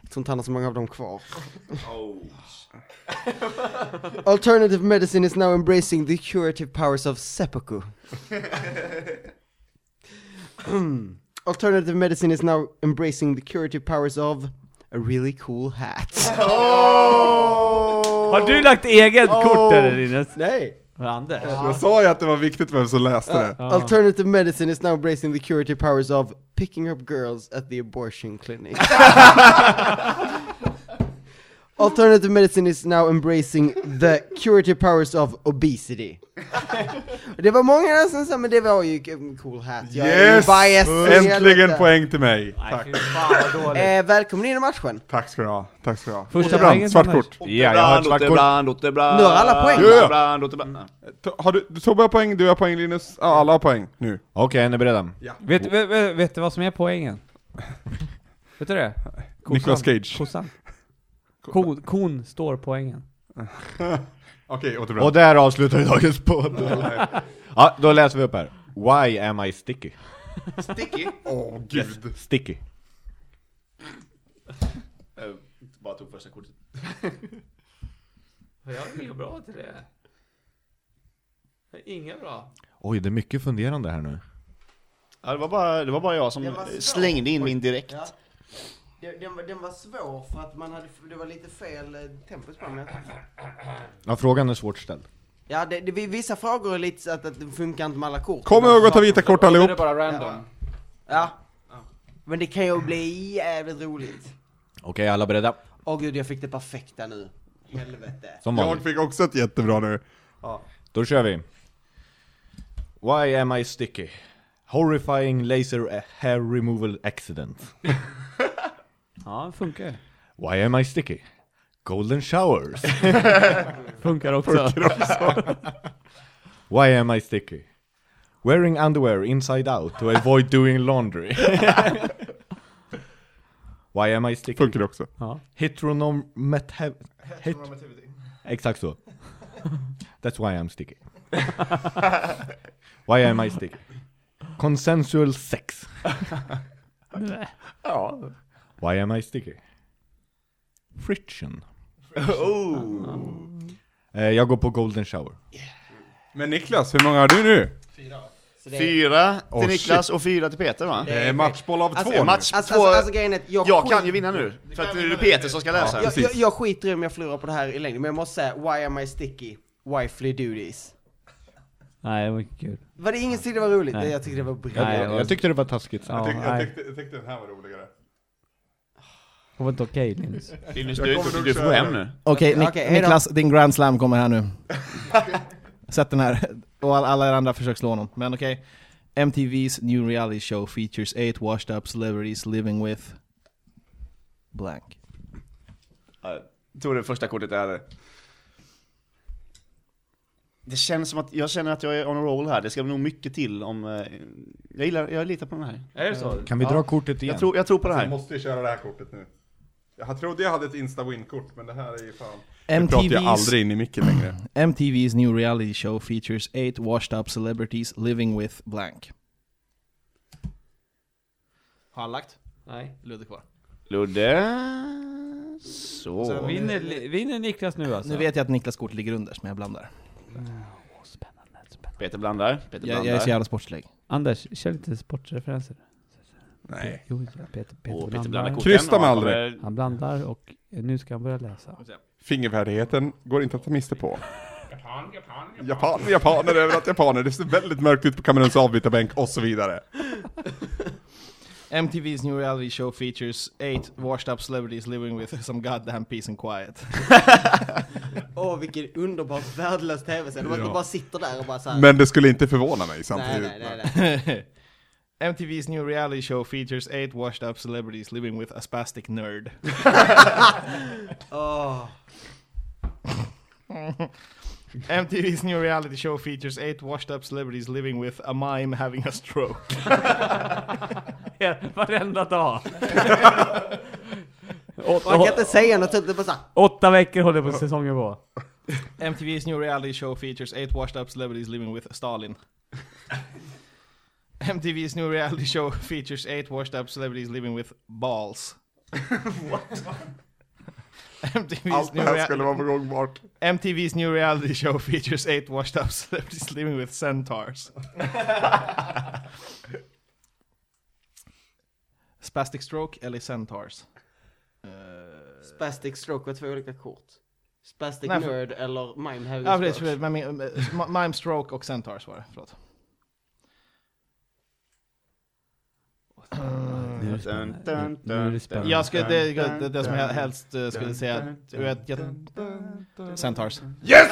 S6: Jag tror inte han har så många av dem kvar. Alternative medicine is now embracing the curative powers of seppuku. Mm. Alternative medicine is now embracing the curative powers of a really cool hat.
S8: Har du lagt eget kort eller Linus?
S6: Nej!
S8: Anders?
S4: Jag sa ju att det var viktigt vem som läste det.
S6: Alternative medicine is now embracing the curative powers of picking up girls at the abortion clinic. Alternative medicine is now embracing the curative powers of obesity. det var många där som sa, men det var ju en cool hat. Jag är
S4: Yes!
S6: biased i helvete.
S4: Äntligen poäng till mig!
S8: Nej,
S4: Tack,
S8: fy fan vad dåligt.
S6: Eh, välkommen in i matchen.
S4: tack ska du ha. Tack ska du ha.
S8: Första
S4: Otterbrand,
S8: poängen
S4: svart
S8: till mig.
S4: kort.
S7: Ja, jag har ett svart kort.
S5: Otterbrand, Otterbrand,
S6: Nu har alla poäng.
S5: Otterbrand, Otterbrand.
S4: Ta- Har du, Tobbe har poäng, du har poäng Linus, ja, alla har poäng nu.
S7: Okej, är ni beredda?
S8: Vet, vet, vet, vet du vad som är poängen? Vet du det?
S4: Nicolas Cage.
S8: Kossan. Kon, kon står poängen.
S4: Okej,
S7: Och
S4: återbrand.
S7: där avslutar vi dagens podd. ja, då läser vi upp här. Why am I sticky?
S5: Sticky.
S4: Åh gud.
S7: Sticky.
S5: Jag Eh, bara tog första kortet.
S9: Jag är ju bra till det. Inga bra.
S7: Oj, det är mycket funderande här nu.
S5: Ja, det, var bara, det var bara jag som
S6: Det var så.
S5: slängde in min direkt.
S6: Ja. Den, den, var- den var svår för att man hade, det var lite fel eh, tempus på den. men jag tror-
S7: Ja, frågan är svårt ställd.
S6: Ja, det, det, vissa frågor är lite så att, att det funkar inte med alla kort.
S4: Kom ihåg att ta vita kort
S9: Då är
S4: allihop.
S9: det bara random.
S6: Ja. Men det kan ju bli jävligt roligt.
S7: Okej, alla beredda?
S6: Åh gud, jag fick det perfekta nu. Helvete.
S7: Som
S4: Jag
S7: vanligt.
S4: fick också ett jättebra nu.
S7: Då kör vi. Why am I sticky? Horrifying laser hair removal accident.
S8: Ja, det funkar.
S7: Why am I sticky? Golden showers.
S8: Funkar också.
S7: Why am I sticky? Wearing underwear inside out to avoid doing laundry. Why am I sticky?
S4: Funkar det också?
S7: Heteronormativ... Het Exakt så. That's why I'm sticky. why am I sticky? Consensual sex. Why am I sticky? Friction.
S5: Oh.
S7: Eh, jag går på golden shower.
S4: Men Niklas, hur många har du nu?
S5: Fyra till Niklas och fyra till Peter va?
S4: Det är Eh, matchboll av två
S5: Det är match
S6: Alltså,
S5: två.
S6: alltså, alltså grejen är att jag,
S5: jag
S6: skit-
S5: kan ju vinna nu, för att nu är det Peter som ska läsa.
S6: jag, jag, jag skiter i om jag förlorar på det här i längden, men jag måste säga why am I sticky? Wifely duties.
S8: Nej, det var inte kul.
S6: Var det ingen som tyckte det var roligt? Nej. Jag tyckte det var
S8: Nej, det
S6: briljant.
S8: var-
S7: Jag tyckte det var taskigt.
S8: Ja,
S4: nu. Jag
S8: nej.
S4: tyckte, jag tyckte den här var roligare.
S8: Det var inte okej Linus.
S5: nu. Linus, du,
S4: kommer nog
S5: du får gå
S4: köra.
S5: hem nu.
S1: Okej, Nik-
S6: Okej, hej då.
S1: Niklas, din grand slam kommer här nu. Sätt den här. Och all- alla er andra försök slå honom. Men okej. MTV's new reality show features eight washed up celebrities living with... Blank.
S5: Jag tror det första kortet är det. Det känns som att, jag känner att jag är on a roll här, det ska nog mycket till om... eh, Jag gillar, jag litar på den här.
S9: Är det så?
S7: Kan vi dra kortet igen?
S5: Jag tror, jag tror på det
S4: Jag
S5: här.
S4: måste ju köra det här kortet nu. Jag trodde jag hade ett Insta-win-kort, men det här är ju fan...
S1: MTV's,
S4: in i micken längre.
S1: MTV's new reality show features eight washed up celebrities living with blank. Har han lagt?
S9: Nej.
S1: Ludde kvar.
S5: Ludde... Så.
S8: Vinner, Li- vinner Niklas nu alltså?
S1: Nu vet jag att Niklas kort ligger underst, men jag blandar.
S5: Peter blandar. Peter
S1: Jag, jag är så
S5: blandar.
S1: jävla sportslig.
S8: Anders, kör lite sportreferenser.
S4: Nej.
S8: Jo, ja, Peter, Peter,
S5: Och Peter
S8: blandar.
S5: blandar korten.
S4: Krysta
S5: och
S4: mig
S5: han
S4: aldrig.
S5: kommer-
S8: Han blandar och eh, nu ska han börja läsa.
S4: Fingerfärdigheten går inte att ta miste på. Japan, japaner överallt japaner. Det ser väldigt mörkt ut på Kameruns avbytarbänk och så vidare.
S1: MTV's new reality show features eight washed up celebrities living with some goddamn peace and quiet.
S6: Åh, vilken underbart värdelös tv-serie. Det var att de bara sitter där och bara såhär...
S4: Men det skulle inte förvåna mig
S6: Nej,
S4: samtidigt.
S6: nej, nej, nej.
S1: MTV's new reality show features eight washed up celebrities living with a spastic nerd.
S6: Åh.
S1: MTV's new reality show features eight washed up celebrities living with a mime having a stroke.
S8: Varenda dag! åtta,
S6: Man kan inte säga något, typ, det är bara såhär...
S8: åtta veckor håller på säsongen på.
S1: MTV's new reality show features eight washed up celebrities living with Stalin. MTV's new reality show features eight washed up celebrities living with balls. what? MTV's
S4: Allt det
S1: new,
S4: här
S1: rea-
S4: skulle vara gångbart.
S1: MTV's new reality show features eight washed up celebrities living with centaurs. Spastic stroke eller centaurs?
S6: Spastic stroke var två olika kort. Spastic
S1: Nej, för-
S6: nerd eller mime having
S1: Ja,
S6: a
S1: precis.
S6: stroke.
S1: precis. Men, men, men, Mime Stroke och Centaurs var det. Förlåt.
S8: Nu är det
S5: Dun,
S8: spännande.
S5: dun,
S8: Nu är det
S5: dun,
S8: spännande.
S1: Jag skulle, det, det, det som jag helst eh, skulle säga, jag vet, jag, Centaurs. Yes!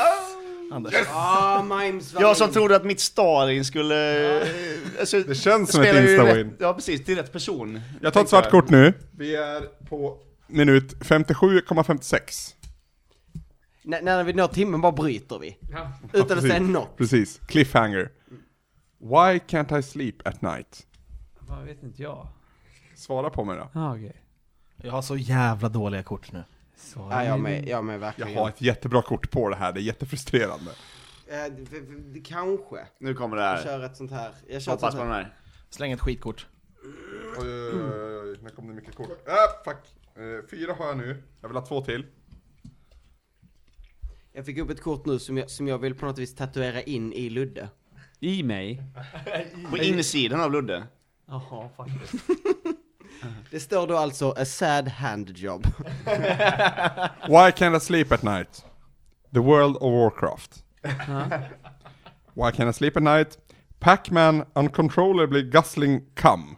S1: Anders.
S6: Ah, mimes var
S5: Jag som
S6: min.
S5: trodde att mitt Stalin skulle... Alltså,
S4: Det känns som ett
S5: spelar ju
S4: Insta-win.
S5: rätt- Ja precis, till rätt person.
S4: Jag tar ett svart kort nu. Vi är på minut 57,56.
S6: N- när vi når timmen bara bryter vi. Utan att säga
S4: Precis.
S6: något.
S4: Precis. Cliffhanger. Why can't I sleep at night?
S8: Vad vet inte jag?
S4: Svara på mig då.
S8: Ah, okej.
S1: Jag har så jävla dåliga kort nu.
S8: Så
S6: Ja, jag med, jag med
S4: Jag
S6: verkligen.
S4: har ett jättebra kort på det här, det är jättefrustrerande.
S6: Eh, v- v- det kanske.
S5: Nu kommer det
S6: Jag
S5: här.
S6: kör ett sånt här. Jag kör ett
S5: Hoppas
S6: sånt
S5: på den
S6: här.
S5: här.
S1: Släng ett skitkort.
S4: Oj, oj, oj, oj, nu kom det mycket kort. Ah, fuck. Eh, fyra har jag nu, jag vill ha två till.
S6: Jag fick upp ett kort nu som jag, som jag vill på något vis tatuera in i Ludde.
S8: I mig?
S5: På insidan av Ludde.
S8: Jaha, faktiskt.
S6: Det står då alltså a sad handjob.
S4: Why can't I sleep at night? The World of Warcraft. Why can't I sleep at night? Pac-Man uncontrollably guzzling cum.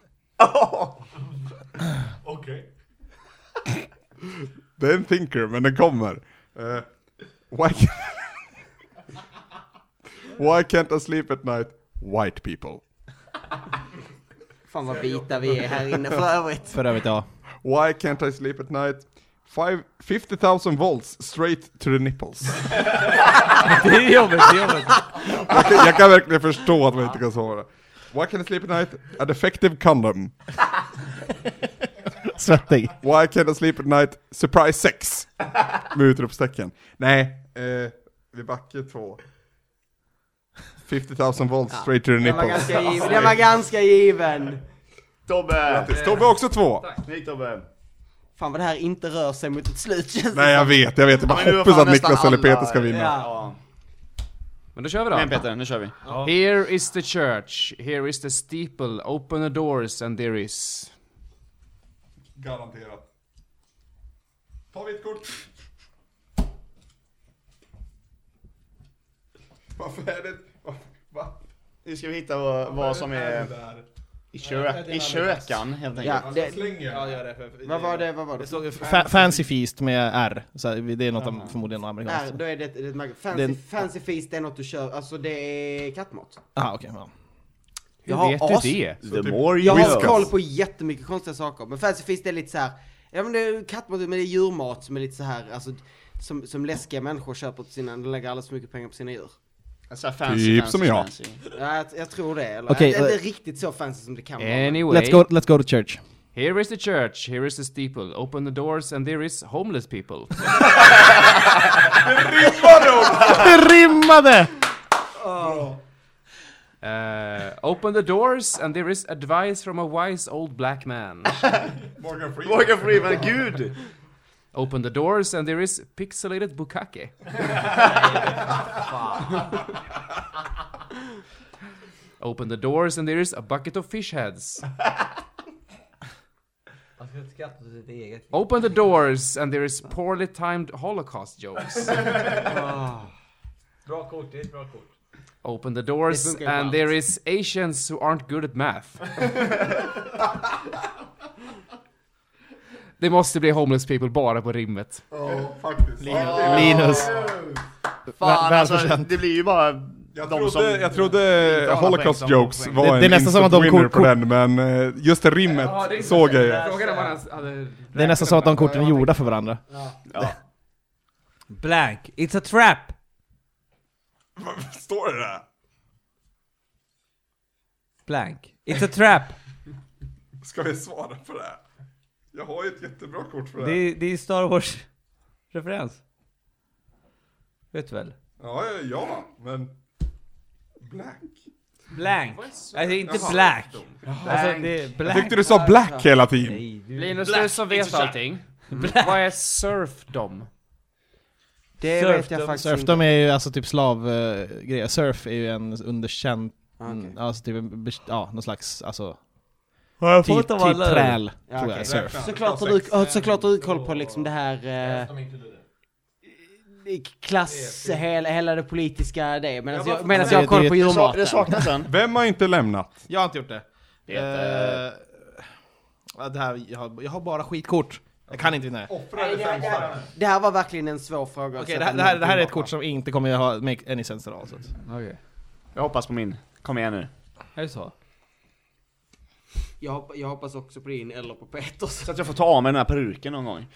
S4: Okej. Det är en thinker, men den kommer. Eh, why, can- why can't I sleep at night? White people.
S6: Fan vad vita vi är här inne för övrigt.
S1: För övrigt, ja.
S4: Why can't I sleep at night? Five- 50,000 volts straight to the nipples.
S8: Det är jobbigt, det är jobbigt.
S4: Jag kan, jag kan verkligen förstå att man inte kan svara. Why can't I sleep at night? A defective condom.
S1: Svettig.
S4: Why can't I sleep at night? Surprise sex! Med utropstecken. Nej, eh, vi backar två. 50,000 volts straight to the
S6: Den var
S4: nipples.
S6: ganska given. Den var ganska given.
S5: Tobbe!
S4: Grattis, Tobbe har också två!
S5: Snyggt
S6: Ah.
S5: Tobbe!
S6: Fan vad det här inte rör sig mot ett slut känns det
S4: Nej jag vet, jag vet, jag
S5: Ja, men
S4: bara
S5: nu har
S4: hoppas
S5: fan
S4: att Niklas
S5: nästan
S4: eller Peter
S5: alla-
S4: ska vinna.
S6: Ja.
S5: Ja.
S9: Men då kör vi då.
S5: Men Peter, nu kör vi.
S9: Here is the church, here is the steeple, open the doors and there is...
S4: Garanterat. Ta mitt kort. Varför är det... Va? va?
S5: Nu ska vi hitta vad, vad som är i, kök, i kökan helt enkelt.
S6: Ja, det, vad var det, vad var det?
S1: Fa- fancy Feast med R. Så här, det är något av förmodligen
S6: Där,
S1: amerikanskt.
S6: då är det, ett- det är ett mag- fancy,
S1: Den-
S6: fancy feast det är något du kör, alltså det är kattmat.
S1: Ah, okej. ja.
S9: Hur
S6: har
S9: vet du
S6: as-
S9: det?
S5: The more
S6: Jag
S5: you
S6: har
S5: know.
S6: koll på jättemycket konstiga saker, men fancy feast är lite så här. ja men det är kattmat, men det är djurmat som är lite så här, alltså som, som läskiga människor köper till sina, de lägger alldeles för mycket pengar på sina djur.
S5: Så här fancy,
S4: Typ
S5: fancy,
S4: som jag.
S5: fancy.
S6: Ja, jag, jag tror det, eller?
S1: Okej,
S6: det är
S1: eh,
S6: inte riktigt så fancy som det kan vara.
S9: Anyway,
S1: Let's, go, let's go to church.
S9: here is the church, here is the steeple, open the doors and there is homeless people.
S1: Det rimmade!
S9: Uh, open the doors and there is advice from a wise old black man.
S4: Morgan Freeman.
S5: Morgan Freeman, gud!
S9: Open the doors and there is pixelated bukake. Open the doors and there is a bucket of fish heads. Open the doors and there is poorly timed Holocaust jokes.
S8: Bra kort, det är ett bra kort.
S9: Open the doors
S6: funkar ju på
S9: and
S6: allt.
S9: there is Asians who aren't good at math. Det måste bli homeless people bara på rimmet.
S4: Ja, faktiskt.
S1: Linus.
S5: Fan alltså,
S1: välförtjänt.
S5: det blir ju bara
S4: Jag
S5: de
S4: trodde,
S5: som...
S4: jag trodde
S5: alla
S4: Holocaust
S5: poäng som
S4: jokes
S5: poäng.
S4: var
S1: Det- det är
S4: en
S1: nästan som att
S4: instant
S1: de
S4: winner
S1: kort-
S4: på den, men eh, just det rimmet såg jag ju.
S9: Frågan är vad han hade...
S1: Det är nästan så att de korten är gjorda för varandra.
S8: Blank, it's a trap!
S4: Står det där?
S8: Blank, it's a trap!
S4: Ska vi svara på det? Jag har ju ett jättebra kort för
S8: Det
S4: det.
S8: är, det är Star Wars-referens. Vet du väl?
S4: Ja, ja, ja, men... Black.
S8: Blank! Alltså inte black! Alltså det är
S4: Jag
S8: black!
S4: tyckte du sa black hela tiden.
S8: Nej, du...
S9: Linus, du som vet allting. Vad är surfdom?
S6: Det
S8: Surf
S6: vet jag
S8: dem,
S6: faktiskt inte.
S1: Surfdom är ju alltså typ slavgrejer. Surf är ju en underkänd,
S6: Ah, okej.
S1: mm, alltså typ, en best- ja, någon slags, alltså,
S8: Har jag
S1: typ
S8: fått av alla?
S1: träl,
S6: Ja,
S1: tror
S6: okej.
S1: jag, surf.
S6: Såklart har, du, ja, såklart har du koll på liksom det här... Eh, i- klass, hela, hela det politiska det. Medan jag, medan jag har koll på
S1: Det är ju-
S5: Det sa- Det
S6: djurmaten.
S5: saknas en.
S4: Vem har inte lämnat?
S1: Jag har inte gjort det.
S5: Peter.
S1: Eh, ja, det här, jag, har, jag har bara skitkort. Jag kan inte vinna det. Okej,
S6: Det här var verkligen en svår fråga. att
S1: det,
S6: sätta
S1: här- det, här, det här är ett
S6: någonting
S1: kort som inte kommer att ha make any sense at all. Så att.
S5: Jag hoppas på min. Kom igen nu.
S8: Är det så?
S6: bakom. Jag, hoppa- jag hoppas också på din eller på Peters.
S5: Så att jag får ta av mig den här peruken någon gång.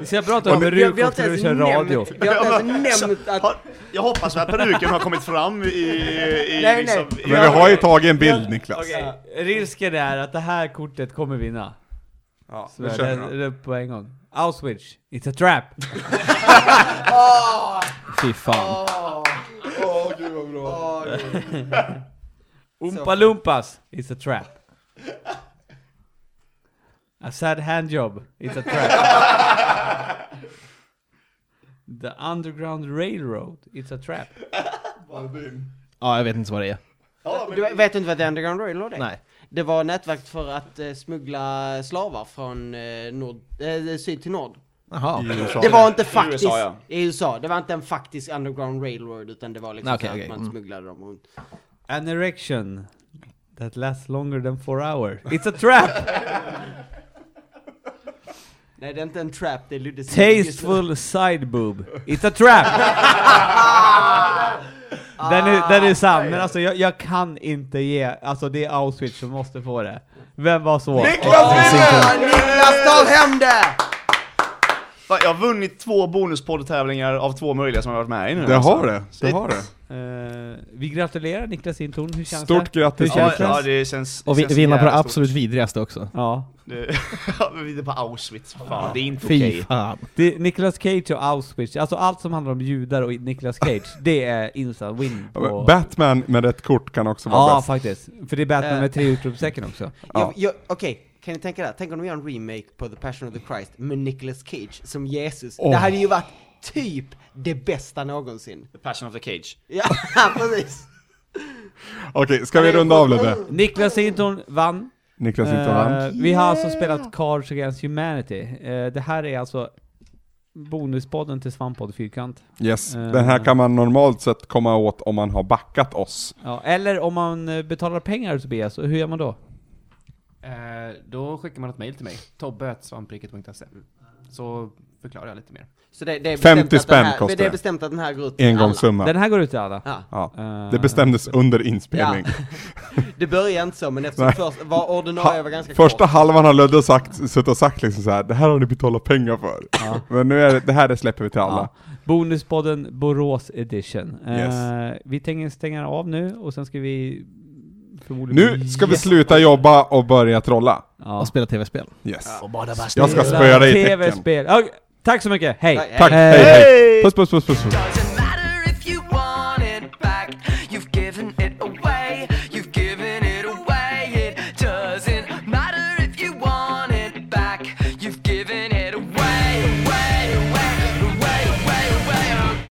S8: Vi ska prata om hur
S6: Vi har- vi
S8: du
S6: har
S8: också när du
S6: inte
S8: kör
S6: ens
S8: radio.
S6: nämnt- Vi har inte ens nämnt att...
S5: Har- Jag hoppas att peruken har kommit fram i... i
S6: Nej,
S5: liksom,
S6: nej.
S5: I,
S4: Men vi har ju tagit en bild Niklas.
S8: Okej, risken är att det här kortet kommer vinna.
S4: Ja,
S8: Så
S4: vi
S8: det
S4: kör nu
S8: är
S4: då.
S8: det är på en gång. Auschwitz, it's a trap!
S1: Fy fan.
S4: Åh gud vad bra.
S8: Oompa Loompas, it's a trap. A sad handjob, it's a trap. The Underground Railroad, it's a trap.
S1: Ja, jag vet inte vad det är.
S6: Du vet inte vad The Underground Railroad är?
S1: Nej.
S6: Det var nätverket för att eh, smuggla slavar från eh, nord, eh, syd till nord.
S1: Jaha.
S4: I USA.
S6: Det var inte
S5: USA,
S6: faktiskt,
S5: ja.
S6: i USA, det var inte en faktisk underground railroad utan det var liksom
S1: Nej, okej,
S6: så
S1: okej,
S6: att man
S1: mm.
S6: smugglade dem runt.
S8: An erection that lasts longer than four hours, it's a trap.
S6: Nej det är inte en trap, det är Luddes
S8: Tasteful side boob, it's a trap.
S3: Den är, den är sann,
S6: Ah.
S3: men alltså jag, jag kan inte ge, alltså det är Auschwitz som måste få det. Vem var så? Eh,
S6: Niklas vinner! Niklas tar hem det!
S5: Fan, Jag har vunnit två bonuspoddtävlingar av två möjliga som jag har varit med i nu.
S4: Det
S5: alltså.
S4: har det, det
S5: Shit.
S4: har det.
S3: Eh, vi gratulerar Niklas Sintorn, hur känns
S4: Stort
S3: det?
S4: grattis
S3: Hur känns
S5: Ja,
S3: det?
S5: ja, det känns...
S1: Och
S5: det
S1: vi,
S5: känns
S1: vinna på det
S5: jävligt stort.
S1: absolut vidrigaste också.
S3: Ja.
S5: Det- Ja, men vi är på Auschwitz, för fan. Det är inte
S1: Fy
S5: okej.
S1: fan.
S3: Det, Nicolas Cage och Auschwitz, alltså allt som handlar om judar och Nicolas Cage, det är instant win på...
S4: Batman med rätt kort kan också vara
S3: Ja
S4: bäst.
S3: faktiskt, för det är Batman
S6: Eh.
S3: med tre utropstecken också.
S6: Jag- jag- Okej, kan ni tänka det? Tänk om de gör en remake på The Passion of the Christ med Nicolas Cage som Jesus. Det hade ju varit typ det bästa någonsin.
S5: The Passion of the Cage.
S6: Ja, precis.
S4: Okej, ska vi runda av lite?
S3: Niklas Sinton vann.
S4: Niklas Hinton vann.
S3: Eh, vi har alltså spelat Cards Against Humanity. Eh, det här är alltså bonuspodden till Svampodd Fyrkant.
S4: Yes,
S3: eh.
S4: den här kan man normalt sett komma åt om man har backat oss.
S3: Ja, eller om man eh, betalar pengar Tobias, hur gör man då?
S9: Eh, då skickar man ett mejl till mig. Tobbe.svampriket.se Så förklarar jag lite mer.
S6: Så det, det är
S4: 50
S6: bestämt att
S4: spänn
S6: den här,
S4: kostar
S6: Det är
S4: det.
S6: bestämt att den här går ut till
S4: Engångssumma.
S3: Den här går ut till alla.
S6: alla. Ja.
S4: Ja.
S3: Eh,
S4: Det bestämdes under inspelning.
S6: Det börjar inte så, men eftersom
S4: Nej.
S6: först var ordinarie
S4: Ha,
S6: var ganska
S4: första
S6: kort.
S4: halvan har Ludde sagt, suttit och sagt liksom så här, det här har ni betalat pengar för. Men nu är det, det här det släpper vi till alla.
S3: Ja. Bonuspodden Borås edition. Eh,
S4: Yes.
S3: Vi tänker stänga av nu och sen ska vi förmodligen...
S4: Nu ska vi sluta jobba och börja trolla.
S3: Ja.
S1: Och spela tv-spel.
S4: Yes. Jag ska spöa
S3: Spela
S4: dig i tecken.
S3: TV-spel. Ja, tack så mycket, hej!
S6: Nej,
S4: Tack,
S3: É.
S4: hej hej! Puss puss puss puss. puss.
S2: Doesn't matter if you want it back, you've given it away.